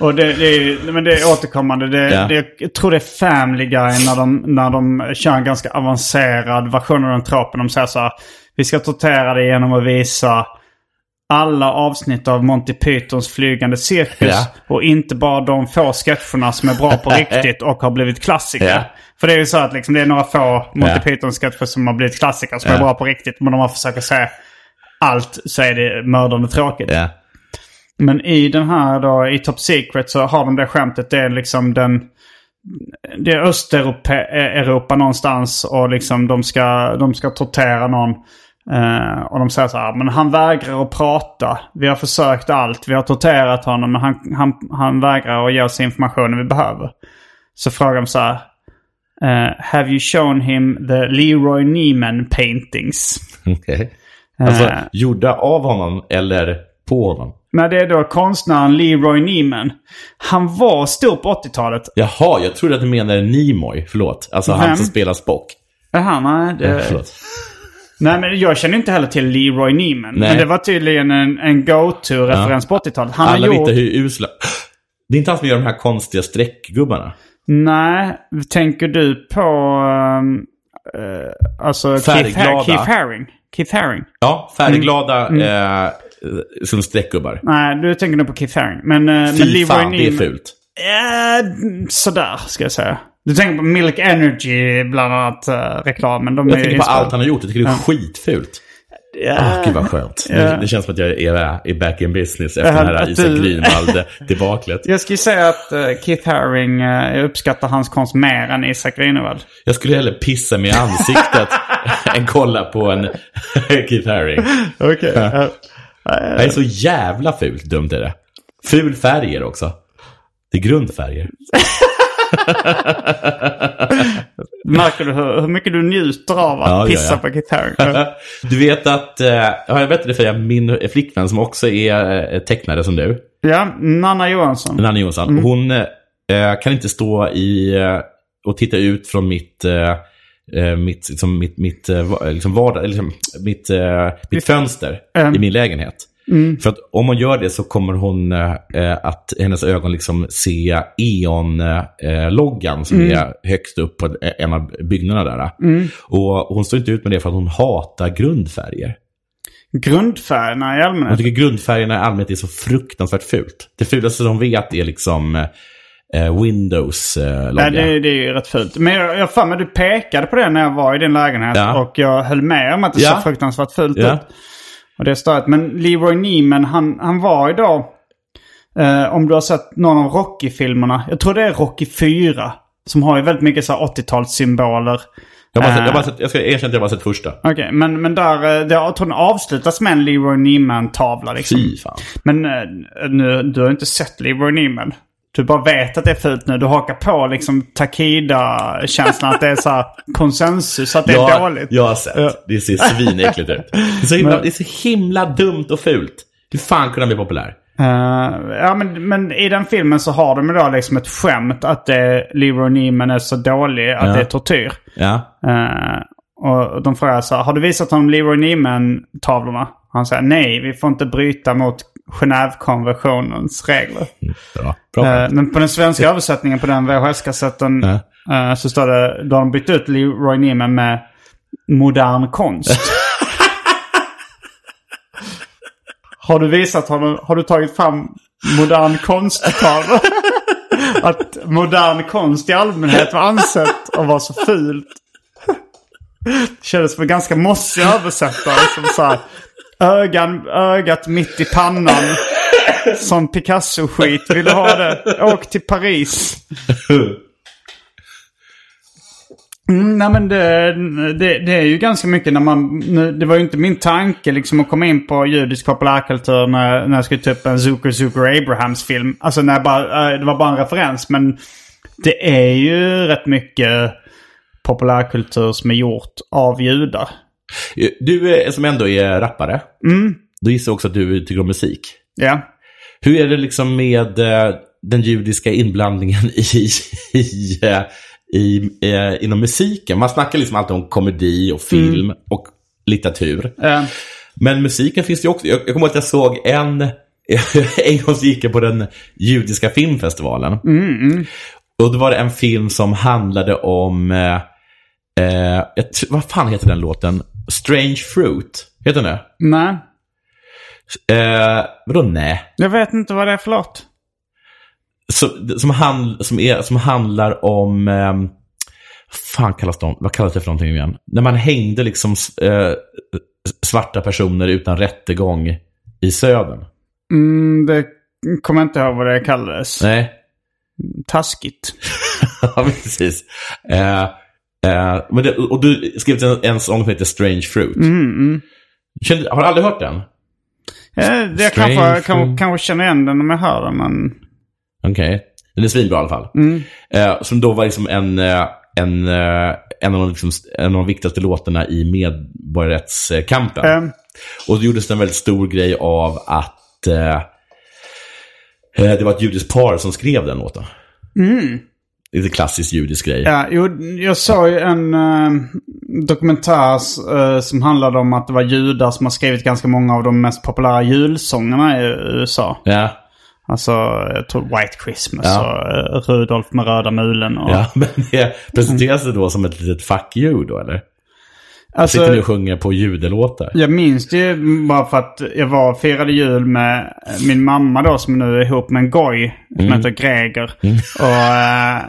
Och det, det, är, ju- men det är återkommande. Det, Ja. det, jag tror det är Family Guy när de, när de kör en ganska avancerad version av den tropen. De säger så här, vi ska tortera det genom att visa alla avsnitt av Monty Pythons flygande cirkus. Ja. Och inte bara de få sketcherna som är bra på riktigt och har blivit klassiker. Ja. För det är ju så att liksom, det är några få Monty Ja. Python-sketcher som har blivit klassiker som är Ja. bra på riktigt. Men om man försöker se allt så är det mördande tråkigt. Ja. Men i den här då, i Top Secret så har de det skämtet. Det är liksom den... Det är Östeuropa eh, Europa någonstans och liksom de ska, de ska tortera någon. Eh, och de säger så här, men han vägrar att prata. Vi har försökt allt. Vi har torterat honom men han, han, han vägrar att ge oss informationen vi behöver. Så frågar de så här, eh, have you shown him the Leroy Neiman paintings? Okej. Alltså, Eh. gjorda av honom eller på honom? Nej, det är då konstnären Leroy Neiman. Han var stor på 80-talet. Jaha, jag trodde att du menade Nimoy. Förlåt. Alltså Vem? han som spelar Spock. Jaha, nej. Eh, Det... Förlåt. Nej, men jag känner inte heller till Leroy Neiman. Nej. Men det var tydligen en, en go-to-referens på 80-talet. Han Alla har vet gjort... inte hur usla... Det är inte han som gör de här konstiga streckgubbarna. Nej, tänker du på... Um, eh, alltså Keith, Färgglada. Ha- Keith Haring? Keith Haring? Ja, färgglada Mm. Eh, som streckgubbar. Nej, du tänker nog på Keith Haring. Men, eh, men Fy Leroy fan, det är Neiman... fult. Eh, sådär, ska jag säga. Du tänker på Milk Energy, bland annat, eh, reklamen. De Jag är tänker på inspelade. allt han har gjort. Jag tycker det är skitfult. Åh, gud vad skönt. Nu- Det känns som att jag är, är back in business efter Ja, den här att Isak du- Grünwald-debaklet. Jag skulle säga att eh, Keith Haring, eh, jag uppskattar hans konst mer än Isak Grünewald. Jag skulle hellre pissa mig i ansiktet än kolla på en Keith Haring. Okej. Det är så jävla fult dumt är det. Ful färger också. Det är grundfärger. Märker du hur, hur mycket du njuter av att Ja, det gör pissa jag. på gitarren? Du vet att, eh, har jag berättat det för dig, min flickvän som också är eh, tecknare som du, ja, Nanna Johansson. Mm. Nanne Johansson, hon eh, kan inte stå i eh, och titta ut från mitt eh, eh, mitt, liksom, mitt, mitt, eh, va- liksom vardag, eller liksom, mitt, eh, mitt fönster Mm. i min lägenhet. För att om hon gör det så kommer hon eh, eh, att hennes ögon liksom se E.ON-loggan som Mm. är högst upp på en av byggnaderna där. Och hon står inte ut med det för att hon hatar grundfärger. Grundfärgerna i Jag allmänhet. tycker grundfärgerna i allmänhet är så fruktansvärt fult. Det fulaste de vet är liksom eh, Nej, Windows-logga. det, det är ju rätt fult. Men jag, jag fan, men du pekade på det när jag var i din lägenhet Ja. och jag höll med om att det Ja. såg fruktansvärt fult Ja. ut. Och det är störigt. Men Leroy Neiman, han, han var ju då, eh, om du har sett någon av Rocky-filmerna, jag tror det är Rocky 4, som har ju väldigt mycket så här 80-talssymboler. jag, har bara sett, jag, har Eh, bara sett, jag ska erkänna att jag bara sett första. Okej, men, men där, eh, det, jag tror den avslutas med en Leroy Neiman-tavla liksom. Fy fan. Men eh, nu, du har inte sett Leroy Neiman. Du bara vet att det är fult nu. Du hakar på liksom Takida-känslan att det är så här konsensus, att det är jag, dåligt. jag har sett. Det ser svinäckligt ut. Det är, så himla, det är så himla dumt och fult. Hur fan kunde han bli populär? Eh, ja, men, men i den filmen så har de ju då liksom ett skämt att det, Leroy Neiman är så dålig att Ja. det är tortyr. Ja. Eh, och de frågar så här, har du visat honom Leroy Neiman-tavlorna? Han säger nej, vi får inte bryta mot Genèvekonventionens regler. Bra. Bra. Eh, Men på den svenska översättningen på den VHS-kassetten eh, så står det, då har de bytt ut Leroy Neiman med modern konst. har du visat honom, har du tagit fram modern konsttavlor? Att modern konst i allmänhet var ansett att vara så fult. Det kändes som en ganska mossig översättare som så här, ögan, ögat mitt i pannan. Som Picasso-skit. Vill du ha det? Åk till Paris. Mm, nej men det, det, det är ju ganska mycket när man... nu- Det var ju inte min tanke liksom att komma in på judisk populärkultur när, när jag skulle ta upp en Zucker Zucker Abrahams-film. Alltså när jag bara, eh, det var bara en referens men det är ju rätt mycket populärkultur som är gjort av judar. Du eh, som ändå är rappare, Mm. då gissar jag också att du tycker om musik. Ja. Hur är det liksom med eh, den judiska inblandningen i, i, eh, i, eh, inom musiken? Man snackar liksom alltid om komedi och film och litteratur. Eh, Men musiken finns ju också. Jag, jag kommer ihåg att jag såg en... en gång så gick jag på den judiska filmfestivalen. Mm. Och då var det en film som handlade om... Eh, eh, jag tr- vad fan heter den låten? Strange Fruit. Heter den det? nej. Eh, vadå nej? Jag vet inte vad det är för låt. Så- som, hand, som, är, som handlar om... ehm, fan kallas de, vad kallas det för någonting igen? När man hängde liksom s- eh, svarta personer utan rättegång i södern. Mm, det kommer jag inte ihåg vad det kallades. Nej. Taskigt. ja, precis. Eh, eh, men det, och du skrev en, en sång som heter Strange Fruit. Mm. Kände, har du aldrig hört den? Eh, Jag Strange kanske, kanske, fruit. kanske känner igen den om jag hör den, men... Okej. Den är svinbra i alla fall. Eh, som då var liksom en, eh, en, eh, en, av de, liksom, en av de viktigaste låtarna i medborgarrättskampen. Eh, Och då gjordes det en väldigt stor grej av att eh, eh, det var ett judiskt par som skrev den låten. Mm. Lite klassisk judisk grej. ja, jo, jag såg ju en eh, dokumentär eh, som handlade om att det var judar som har skrivit ganska många av de mest populära julsångerna i USA. Ja. Alltså, jag tror White Christmas Ja. och eh, Rudolf med röda mulen. Och, Ja, men det presenteras det då som ett litet fuck you då eller? alltså, Sitter ni och sjunger på judelåtar? Jag minns det ju bara för att jag var och firade jul med min mamma då som nu är ihop med en goj som Mm. heter Greger. Och, eh,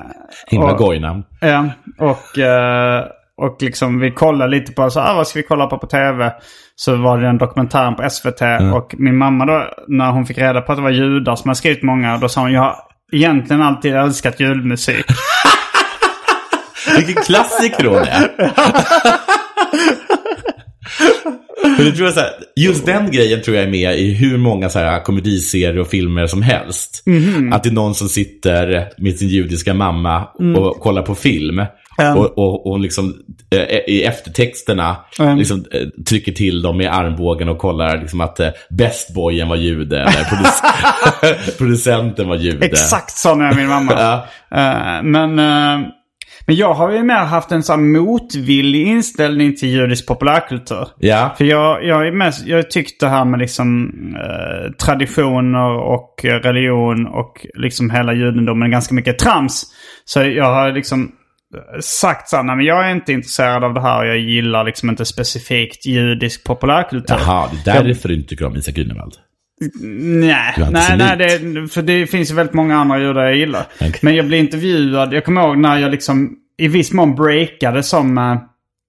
Himla och- gojnamn. Ja, och, eh, och liksom vi kollade lite på så, ah, vad ska vi kolla på på tv? Så var det den dokumentären på SVT och min mamma då när hon fick reda på att det var judar som hade skrivit många då sa hon jag har egentligen alltid älskat julmusik. Vilken klassiker hon är. Men det tror jag så här, just den grejen tror jag är med i hur många så här, komediserier och filmer som helst. Att det är någon som sitter med sin judiska mamma och kollar på film. Och, och, och liksom, eh, i eftertexterna liksom, eh, trycker till dem i armbågen och kollar liksom, att eh, bestboyen var jude eller produc- producenten var jude. Exakt så med min mamma. Ja. Eh, men, eh, men jag har ju mer haft en sån här motvillig inställning till judisk populärkultur. Ja. För jag, jag, är mest, jag har tyckt det här med liksom, eh, traditioner och eh, religion och liksom hela judendomen är ganska mycket trams. Så jag har liksom eh, sagt så här, nej men jag är inte intresserad av det här och jag gillar liksom inte specifikt judisk populärkultur. Jaha, det är därför du inte tycker om Isak Grünewald. Nej, Du är nej, nej antisemit. det, för det finns ju väldigt många andra judar jag gillar. Okej. Men jag blev intervjuad, jag kommer ihåg när jag liksom i viss mån breakade som eh,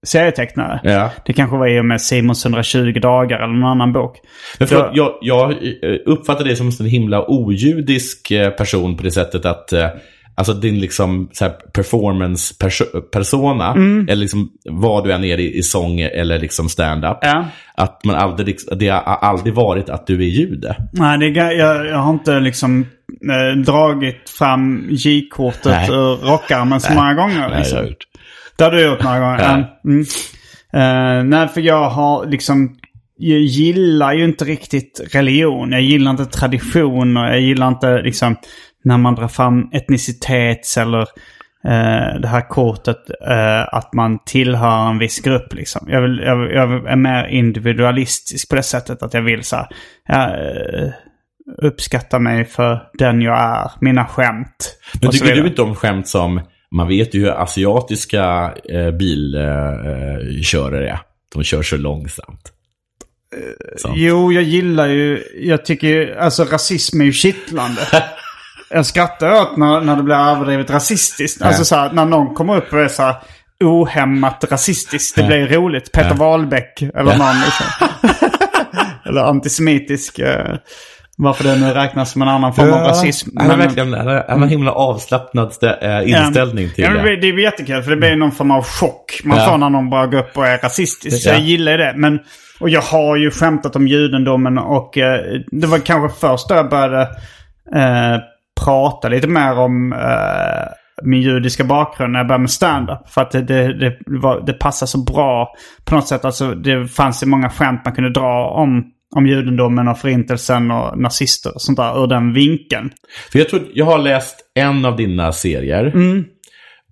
serietecknare. Ja. Det kanske var i och med Simons 120 dagar eller någon annan bok. Men förlåt, jag, jag eh, uppfattar dig som en sån himla ojudisk eh, person på det sättet att eh, Alltså din liksom så här performance perso- persona, Mm. eller liksom vad du än är i, i sång eller liksom stand-up. Ja. Att man aldrig, liksom- det har aldrig varit att du är jude. Nej, det, är ga- jag, jag har inte liksom eh, dragit fram J-kortet Nej. ur rockärmen så många gånger. Nej, Liksom. jag har gjort. Det har du gjort några gånger. Ja. Mm. Eh, nej, för jag har liksom... Jag gillar ju inte riktigt religion. Jag gillar inte traditioner. Jag gillar inte liksom när man drar fram etnicitets eller eh, det här kortet eh, att man tillhör en viss grupp. Liksom. Jag, vill, jag, jag är mer individualistisk på det sättet att jag vill så här, ja, eh, uppskatta mig för den jag är, mina skämt. Men och så tycker du vidare. inte om skämt som, man vet ju hur asiatiska eh, bilkörare eh, körare är. De kör så långsamt. Sant. Jo, jag gillar ju, jag tycker ju, alltså rasism är ju kittlande. jag skrattar åt när, när det blir överdrivet rasistiskt. Alltså så här, när någon kommer upp och är så här ohämmat rasistiskt. Det blir ju roligt. Peter Wahlbeck eller någon liksom. eller antisemitisk. eh, Varför det nu räknas som en annan form av rasism. Han har verkligen han har, han har himla avslappnad stä- eh, inställning till Ehm, ja, men det. det. blir- Det är jättekul för det blir någon form av chock man Ja. får när någon bara går upp och är rasistisk. Så Ja. jag gillar ju det. Men, och jag har ju skämtat om judendomen och eh, det var kanske först då jag började eh, prata lite mer om eh, min judiska bakgrund när jag började med stand-up. För att det, det, det, var, det passade så bra på något sätt. Alltså, det fanns ju många skämt man kunde dra om, om judendomen och förintelsen och nazister och sånt där ur den vinkeln. För jag, tror, jag har läst en av dina serier. Mm.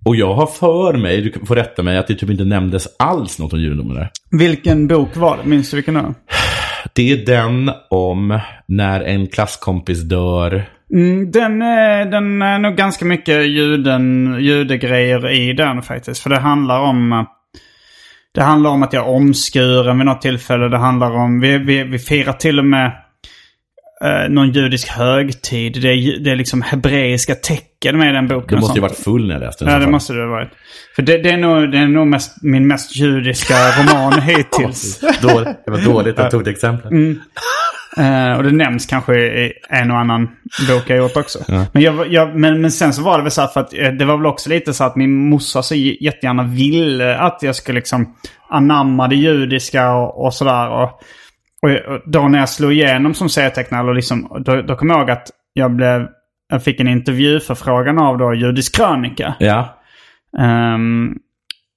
Och jag har för mig, du får rätta mig, att det typ inte nämndes alls något om judendomen där. Vilken bok var det? Minns du vilken det var? Det är den om när en klasskompis dör. Mm, Den är, den är nog ganska mycket juden, judegrejer i den faktiskt. För det handlar om... eh, Det handlar om att jag är omskuren vid något tillfälle. Det handlar om... Vi, vi, vi firar till och med eh, någon judisk högtid. Det är, ju- det är liksom hebreiska tecken med i den boken. Du och måste ju sånt. varit full när jag läste den. i Ja, alla det fall. måste det ha varit. För det, det är nog, det är nog mest, min mest judiska roman hittills. Då, det var dåligt att jag tog det exemplet. Mm. Eh, och det nämns kanske i en och annan bok jag gjort också. Men, jag, var- jag, men, men sen så var det väl så här för att eh, det var väl också lite så att min morsa så j- jättegärna ville att jag skulle liksom anamma det judiska och, och sådär. Och, och jag- och då när jag slog igenom som serietecknare, och liksom, då, då kom jag ihåg att jag, blev, jag fick en intervjuförfrågan av då Judisk krönika. Ja. Ehm,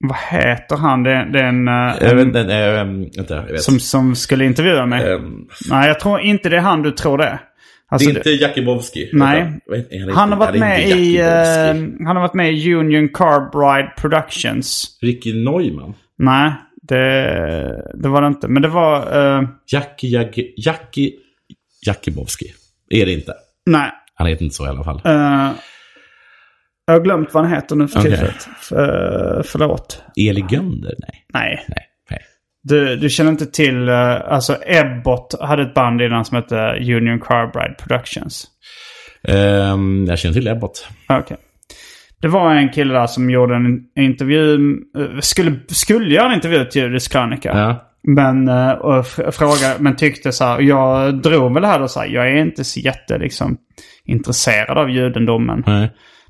vad heter han? Det, det är en, eh, Jag vet, den, äh, vänta, jag vet. som, som skulle intervjua mig. Ehm, Nej, jag tror inte det är han du tror det är. det Alltså, är inte Jakubowski. Nej. Han har varit med i... Uh, eh, han har varit med i Union Carbide Productions. Ricky Neumann. Nej, det, det var det inte. Men det var... eh, Jackie, Jackie, Jackie Jakubowski. Är det inte. nej. Han heter inte så i alla fall. eh, jag har glömt vad han heter nu för Okej. tillfället. Uh, förlåt. Eli Gönder? Nej. Nej. Nej. nej. Du, du känner inte till... eh, alltså Ebbot hade ett band innan som hette Union Carbide Productions. Ehm, jag känner till Ebbot. Okej. Det var en kille där som gjorde en intervju, eh, skulle, skulle göra en intervju till Judisk krönika. Ja. Men, eh, och fr- fråga, men tyckte så här, jag drog väl det här då så här, jag är inte så jätte liksom, intresserad av judendomen. Nej.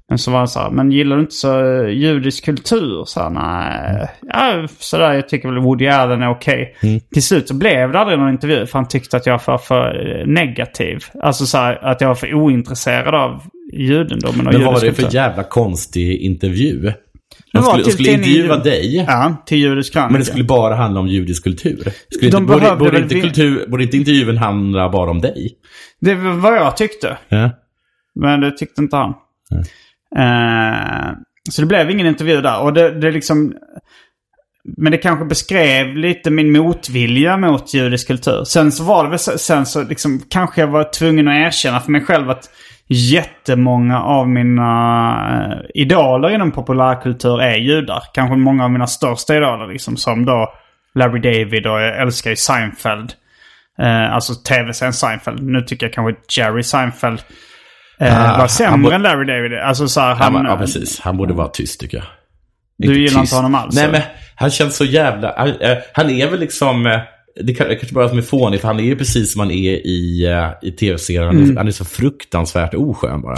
Men så var han så här, men gillar du inte så eh, judisk kultur? Så här, nej. Ja, så där, jag tycker väl Woody Allen är okej. Mm. Till slut så blev det aldrig någon intervju för han tyckte att jag var för, för eh, negativ. Alltså så här, att jag var för ointresserad av judendomen och Men vad judisk var det för kultur. jävla konstig intervju? Det De var typ skulle, de till skulle tidningen intervjua Jud- dig. Ja, till judisk krönika. Men det skulle bara handla om judisk kultur. Skulle De inte, borde, behövde borde, väl inte vi- kultur, borde inte intervjun handla bara om dig? Det var vad jag tyckte. Ja. Men det tyckte inte han. Eh, så det blev ingen intervju där. Och det, det liksom... Men det kanske beskrev lite min motvilja mot judisk kultur. Sen så var det väl, så- sen så liksom kanske jag var tvungen att erkänna för mig själv att jättemånga av mina eh, idoler inom populärkultur är judar. Kanske många av mina största idoler liksom som då Larry David och jag älskar ju Seinfeld. Eh, alltså tv-serien Seinfeld. Nu tycker jag kanske Jerry Seinfeld eh, Ah, var han sämre borde- än Larry David. Alltså så här, Han, han... ja, precis. Han borde vara tyst tycker jag. Du gillar inte honom alls, Nej, eller? men han känns så jävla... Han, eh, han är väl liksom... eh, Det kan- det kanske bara är som är fånigt, för han är ju precis som han är i, eh, i tv-serien. Han, är- Mm. han är så fruktansvärt oskön bara.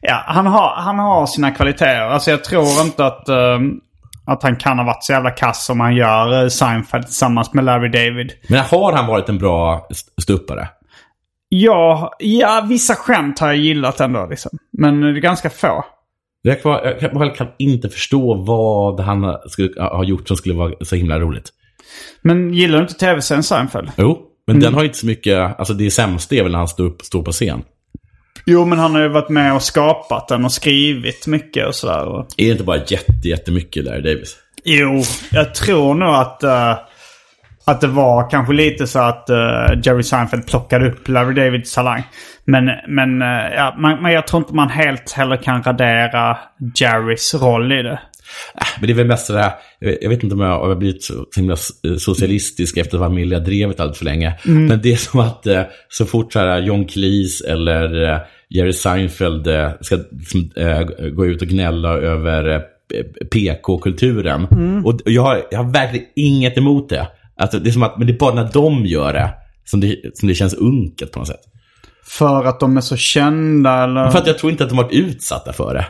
Ja, han har, han har sina kvaliteter. Alltså jag tror inte att, ehm, att han kan ha varit så jävla kass som han gör eh, Seinfeld tillsammans med Larry David. Men har han varit en bra st- ståuppare? Ja, ja, vissa skämt har jag gillat ändå liksom. Men det är ganska få. Jag kan, jag kan, jag kan inte förstå vad han skulle ha gjort som skulle vara så himla roligt. Men gillar du inte tv-serien Seinfeld? Jo, men den har ju inte så mycket... Alltså det sämsta är väl när han står, upp, står på scen. Jo, men han har ju varit med och skapat den och skrivit mycket och sådär. Och... Är det inte bara jätte, jättemycket Larry Davis? Jo, jag tror nog att, eh, att det var kanske lite så att eh, Jerry Seinfeld plockade upp Larry Davids talang. Men, men eh, ja, man, men jag tror inte man helt heller kan radera Jerrys roll i det. Men det är väl mest sådär, jag vet inte om jag har blivit så så himla so- socialistisk efter att vara miljödrevet allt för länge. Men det är som att eh, så fort så här John Cleese eller eh, Jerry Seinfeld eh, ska liksom, eh, gå ut och gnälla över eh, P- PK-kulturen. Och jag har, jag har verkligen inget emot det. Alltså, det är som att, men det är bara när de gör det som det, som det känns unket på något sätt. För att de är så kända eller? För att jag tror inte att de varit utsatta för det.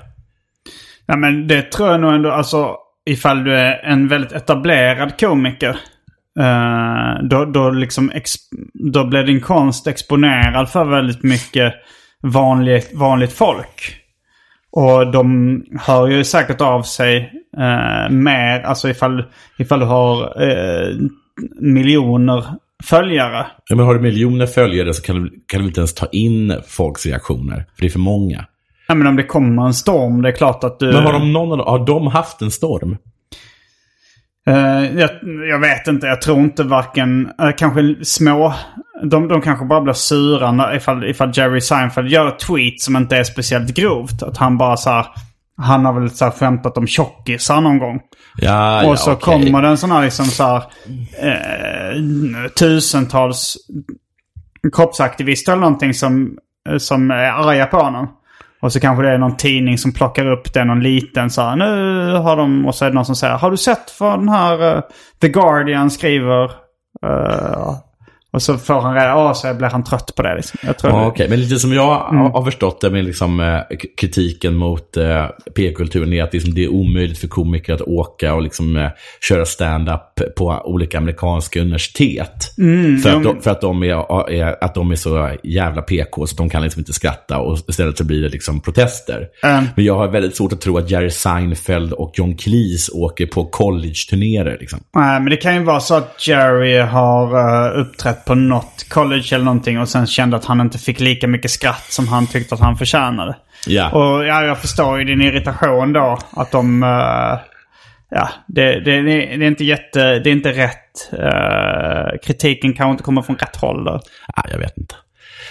Nej men det tror jag nog ändå, alltså ifall du är en väldigt etablerad komiker. eh, då, då, liksom ex, då blir din konst exponerad för väldigt mycket vanligt, vanligt folk. Och de hör ju säkert av sig eh, mer, alltså ifall, ifall du har eh, miljoner följare. Ja, men har du miljoner följare så kan du, kan du inte ens ta in folks reaktioner. För det är för många. Ja men om det kommer en storm, det är klart att du... Men har de, någon, av dem- har de haft en storm? Eh, jag, jag vet inte. Jag tror inte varken... eh, kanske små... De, de kanske bara blir sura när, ifall, ifall Jerry Seinfeld gör ett tweet som inte är speciellt grovt. Att han bara så här, Han har väl så här skämtat om tjockisar någon gång. Ah, Ja, ja, och så okej. kommer det en sån här liksom så här, eh, tusentals kroppsaktivister eller någonting som, som är arga på honom. Och så kanske det är någon tidning som plockar upp den, någon liten så här, nu har de, och så är det någon som säger, har du sett vad den här eh, The Guardian skriver? Eh, och så får han reda, ja så blir han trött på det liksom. Jag tror Ja, det. okej. Men lite som jag Mm. har förstått det med liksom, eh, k- kritiken mot eh, p-kulturen är att liksom, det är omöjligt för komiker att åka och liksom, eh, köra stand-up på olika amerikanska universitet. Mm, för att, de, för att, de är, är, att de är så jävla PK så de kan liksom inte skratta och istället så blir det liksom protester. Men jag har väldigt svårt att tro att Jerry Seinfeld och John Cleese åker på college-turnéer. Liksom. Nej, men det kan ju vara så att Jerry har eh, uppträtt på något college eller någonting och sen kände att han inte fick lika mycket skratt som han tyckte att han förtjänade. Ja. Och ja, jag förstår ju din irritation då. Att de... eh, ja, det, det, det är inte jätte... Det är inte rätt. eh, kritiken kanske inte kommer från rätt håll då. Ah, jag vet inte.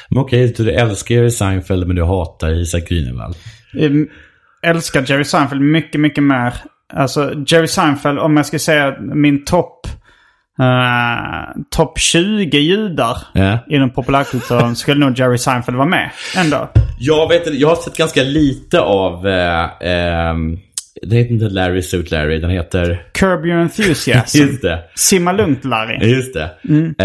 Men okej, du älskar ju Seinfeld men du hatar Isak Grünewald. Ehm, älskar Jerry Seinfeld mycket, mycket mer. Alltså Jerry Seinfeld, om jag ska säga min topp... Uh, topp 20 judar Ja. inom populärkulturen skulle nog Jerry Seinfeld vara med ändå. Jag, vet, inte, jag har sett ganska lite av... Eh, ehm, den heter inte Larry Suit Larry, den heter... Curb your enthusiasm. Just det. Simma lugnt Larry. Just det.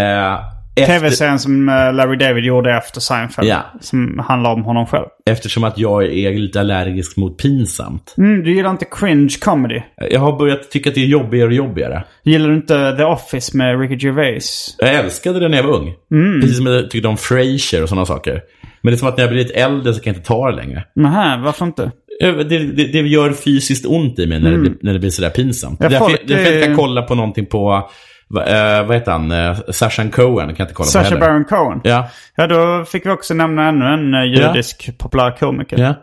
Eh, Efter- Tv-serien som eh, Larry David gjorde efter Seinfeld. Ja. Som handlar om honom själv. Eftersom att jag är lite allergisk mot pinsamt. Mm, du gillar inte cringe comedy. Jag har börjat tycka att det är jobbigare och jobbigare. Gillar du inte The Office med Ricky Gervais? Jag älskade det när jag var ung. Precis som jag tyckte om Frasier och sådana saker. Men det är som att när jag blir lite äldre så kan jag inte ta det längre. Nähä, varför inte? Eh, Det, det, det gör fysiskt ont i mig när, det, blir, när det blir sådär pinsamt. Mm. Ja, därför, folk eh, därför är- jag kan kolla på någonting på, va- eh, vad heter han, eh, Sasha Cohen. kan jag inte kolla på Sacha heller. Baron Cohen. Ja, Ja, då fick vi också nämna ännu en eh, judisk populärkomiker. ja.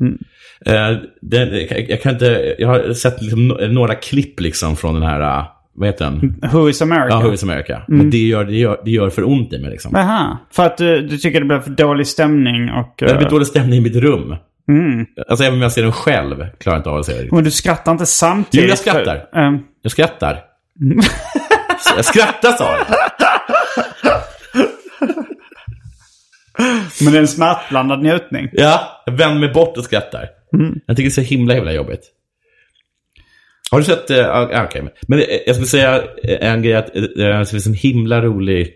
Mm. Eh, det, jag- jag, kan inte, jag har sett liksom no- några klipp liksom från den här, eh, vad heter den? Who is America? Ja, Who is America. Mm. Och det gör, det, gör, det gör för ont i mig liksom. Aha, för att eh, du, du tycker det blev för dålig stämning och... Det blir eh, dålig stämning i mitt rum. Mm. Alltså även om jag ser den själv klarar jag inte av att se det. Men du skrattar inte samtidigt? Jo, jag skrattar. För, ehm, Jag skrattar. Mm. jag skrattar sa jag. men det är en smärtblandad njutning. Ja, jag vänder mig bort och skrattar. Mm. Jag tycker det är så himla, himla jobbigt. Har du sett, eh, ja, okej. Men eh, jag skulle säga eh, en grej att eh, det finns en himla rolig,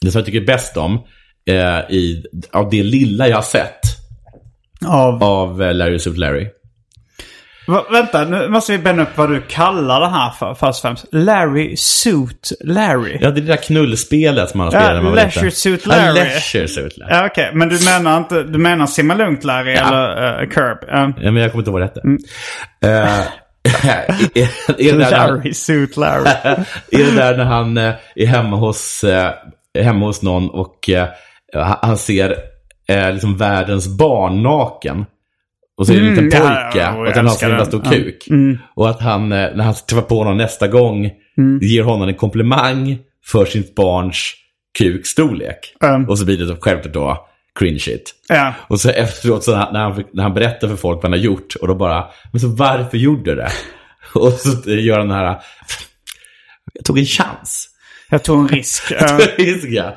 det som jag tycker bäst om, eh, i, av det lilla jag har sett Av... av eh, Larry Suit Larry. Va, vänta, nu måste vi bena upp vad du kallar det här för först och främst. Larry Suit Larry. Ja, det är det där knullspelet som man har spelat när man var Leisure liten. Suit Ja, Larry. Leisure Suit Larry. Ja, okej. Men du menar inte... Du menar Simmalugnt Larry eller uh, Curb? Ehm, Ja, men jag kommer inte ihåg vad det hette. Mm. Eh, är, är, det där när han, Larry Suit Larry. är det där när han eh, är hemma hos, eh, är hemma hos någon och eh, han- han ser eh, liksom världens barn naken. Och så är det en Mm, liten ja, pojke ja, och jag att han har så älskar himla den. stor Ja. Mm. kuk. Och att han, eh, när han träffar på honom nästa gång, Mm. ger honom en komplimang för sitt barns kukstorlek. Mm. Och så blir det då självklart då cringe-igt. ja. Och så efteråt så när han, när han berättar för folk vad han har gjort och då bara, men så varför gjorde du det? Och så gör han den här, jag tog en chans. Jag tog en risk. Ehm, Iska.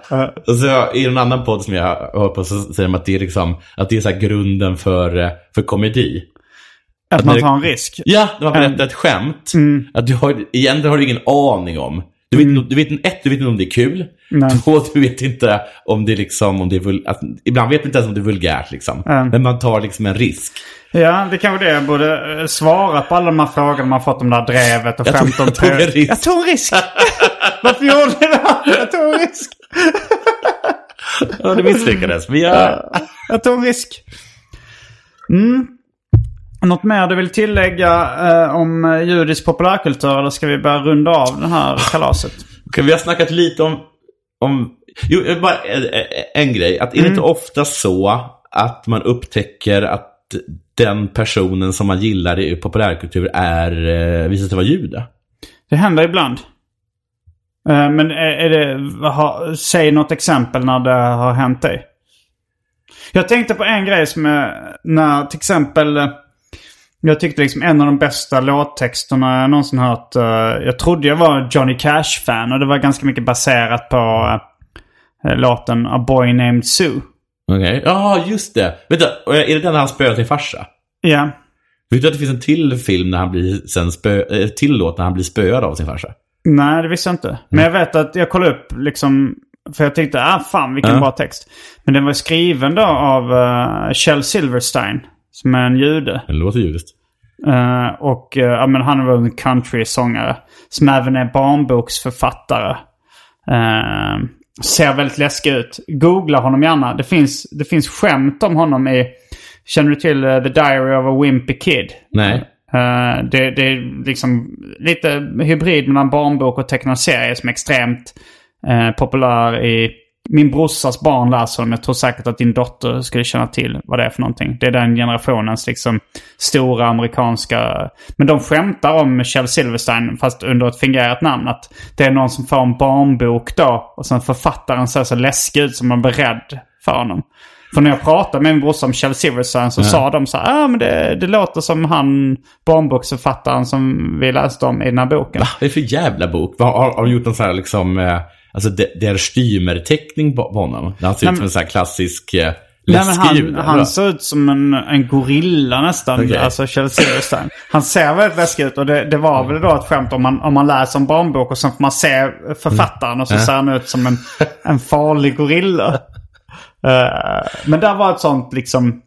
Och så i en annan podd som jag hör på så säger de att det är liksom, att det är så här grunden för, eh, för komedi. att man tar en risk. Ja, när man berättar ett skämt, att du har, egentligen har du ingen aning om. Du vet, inte- du vet, inte- ett, du vet inte om det är kul. Två, du vet inte om det är liksom, om det är vul, att, ibland vet man inte ens om det är vulgärt liksom. Men man tar liksom en risk. Ja, det kanske det. Jag borde eh, svara på alla de här frågorna man fått om det här drevet och Jag tog- skämt om jag tog en teori. risk. Jag tog en risk. Varför gjorde jag det? här? Jag tog en risk. Ja, det misslyckades. Men jag... Jag tog en risk. Mm. Något mer du vill tillägga eh, om eh, judisk populärkultur? Eller ska vi börja runda av det här kalaset? Okej, vi har snackat lite om... om... Jo, eh, bara eh, eh, en grej. Att är det inte ofta så att man upptäcker att den personen som man gillar i populärkultur är, eh, visar sig vara jude? Det händer ibland. Eh, Men är, är det, ha, säg något exempel när det har hänt dig. Jag tänkte på en grej som är när till exempel eh, jag tyckte liksom en av de bästa låttexterna jag någonsin hört. eh, Jag trodde jag var Johnny Cash-fan och det var ganska mycket baserat på eh, låten A Boy Named Sue. Okej. Ja, just det. Vänta, och är det den han spöar sin farsa? Ja. Vet du att det finns en till film när han blir sen spö... eh, till låt när han blir spöad av sin farsa? Nej, det visste jag inte. Men jag vet att jag kollade upp liksom... För jag tänkte, ah fan vilken Ja. bra text. Men den var skriven då av eh, Kjell Silverstein. Som är en jude. Det låter judiskt. Eh, och eh, ja, men han var en country-sångare. Som även är barnboksförfattare. Eh, ser väldigt läskig ut. Googla honom gärna. Det finns, det finns skämt om honom i... Känner du till eh, The Diary of a Wimpy Kid? Nej. Eh, det, det är liksom lite hybrid mellan barnbok och tecknad serie som är extremt eh, populär i... Min brorsas barn läser dem. Jag tror säkert att din dotter skulle känna till vad det är för någonting. Det är den generationens liksom stora amerikanska... Men de skämtar om Kjell Silverstein fast under ett fingerat namn. Att det är någon som får en barnbok då och sen författaren ser så läskig ut som man blir rädd för honom. För när jag pratade med min brorsa om Kjell Silverstein så sa de så här, ah, men det, det låter som han barnboksförfattaren som vi läste om i den här boken. Vad är det för jävla bok? Vad- Har, har de gjort någon sån här liksom, eh, alltså de- der Stümer-teckning på, på honom? Där han ser ut som en sån här klassisk eh, Nej, men Läskig han, ljud. han bra. ser ut som en, en gorilla nästan, Okej. alltså Kjell Silverstein. Han ser väldigt läskig ut och det, det var väl då ett skämt om man, om man läser en barnbok och sen får man se författaren och så Mm. ser han ut som en, en farlig gorilla. Eh, men där var ett sånt liksom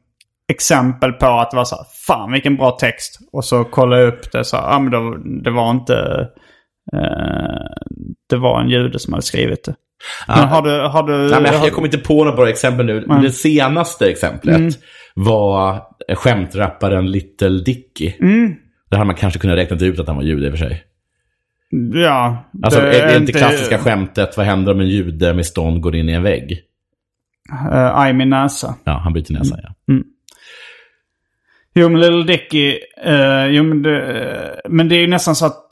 exempel på att det var så här, fan vilken bra text. Och så kolla upp det så här, ah, men då, det var inte, eh, det var en jude som hade skrivit det. Men har du, har du... Nej, men jag, har- jag kommer inte på några bra exempel nu. Men det senaste exemplet Mm. var eh, skämtrapparen Little Dicky. Mm. Där hade man kanske kunnat räkna ut att han var jude i och för sig. Ja. Alltså, det är det inte klassiska skämtet, vad händer om en jude med stånd går in i en vägg? Eh, Aj min näsa. Ja, han byter näsa, Mm. ja. Jo men Little Dicky, eh, jo men det, eh, men det är ju nästan så att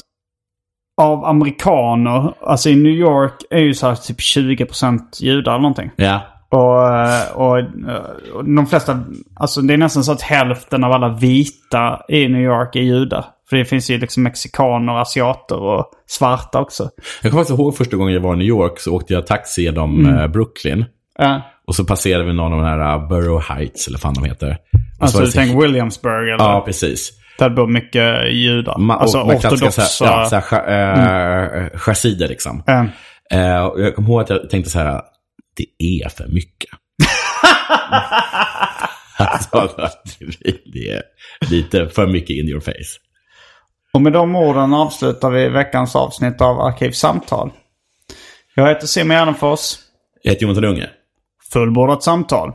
av amerikaner, alltså i New York är ju så här typ 20% judar eller någonting. Ja, Och, eh, och, eh, och de flesta, alltså det är nästan så att hälften av alla vita i New York är judar. För det finns ju liksom mexikaner, asiater och svarta också. Jag kommer faktiskt ihåg första gången jag var i New York så åkte jag taxi genom Mm. eh, Brooklyn. Uh, Och så passerade vi någon av de här eh, Borough Heights, eller vad fan de heter. Och så alltså var du det så- tänker Williamsburg eller? Ja, precis. Där bor mycket judar. Ma- och alltså med klassiska ortodoxa. Så här, ja, så här, cha- eh, chassider liksom. eh, Eh, och jag kommer ihåg att jag tänkte så här, det är för mycket. alltså, det är lite för mycket in your face. Och med de orden avslutar vi veckans avsnitt av Arkivsamtal. Jag heter Simon Gärdenfors. Jag heter Jonathan Unge. Fullbordat samtal.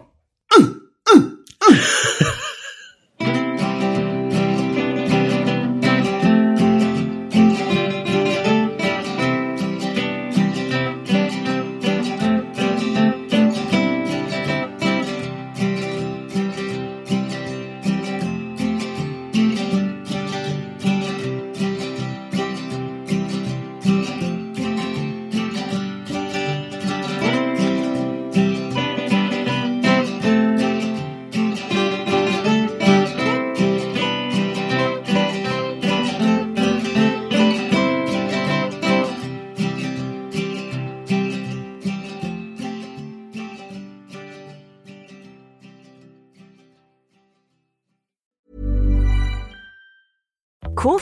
Cool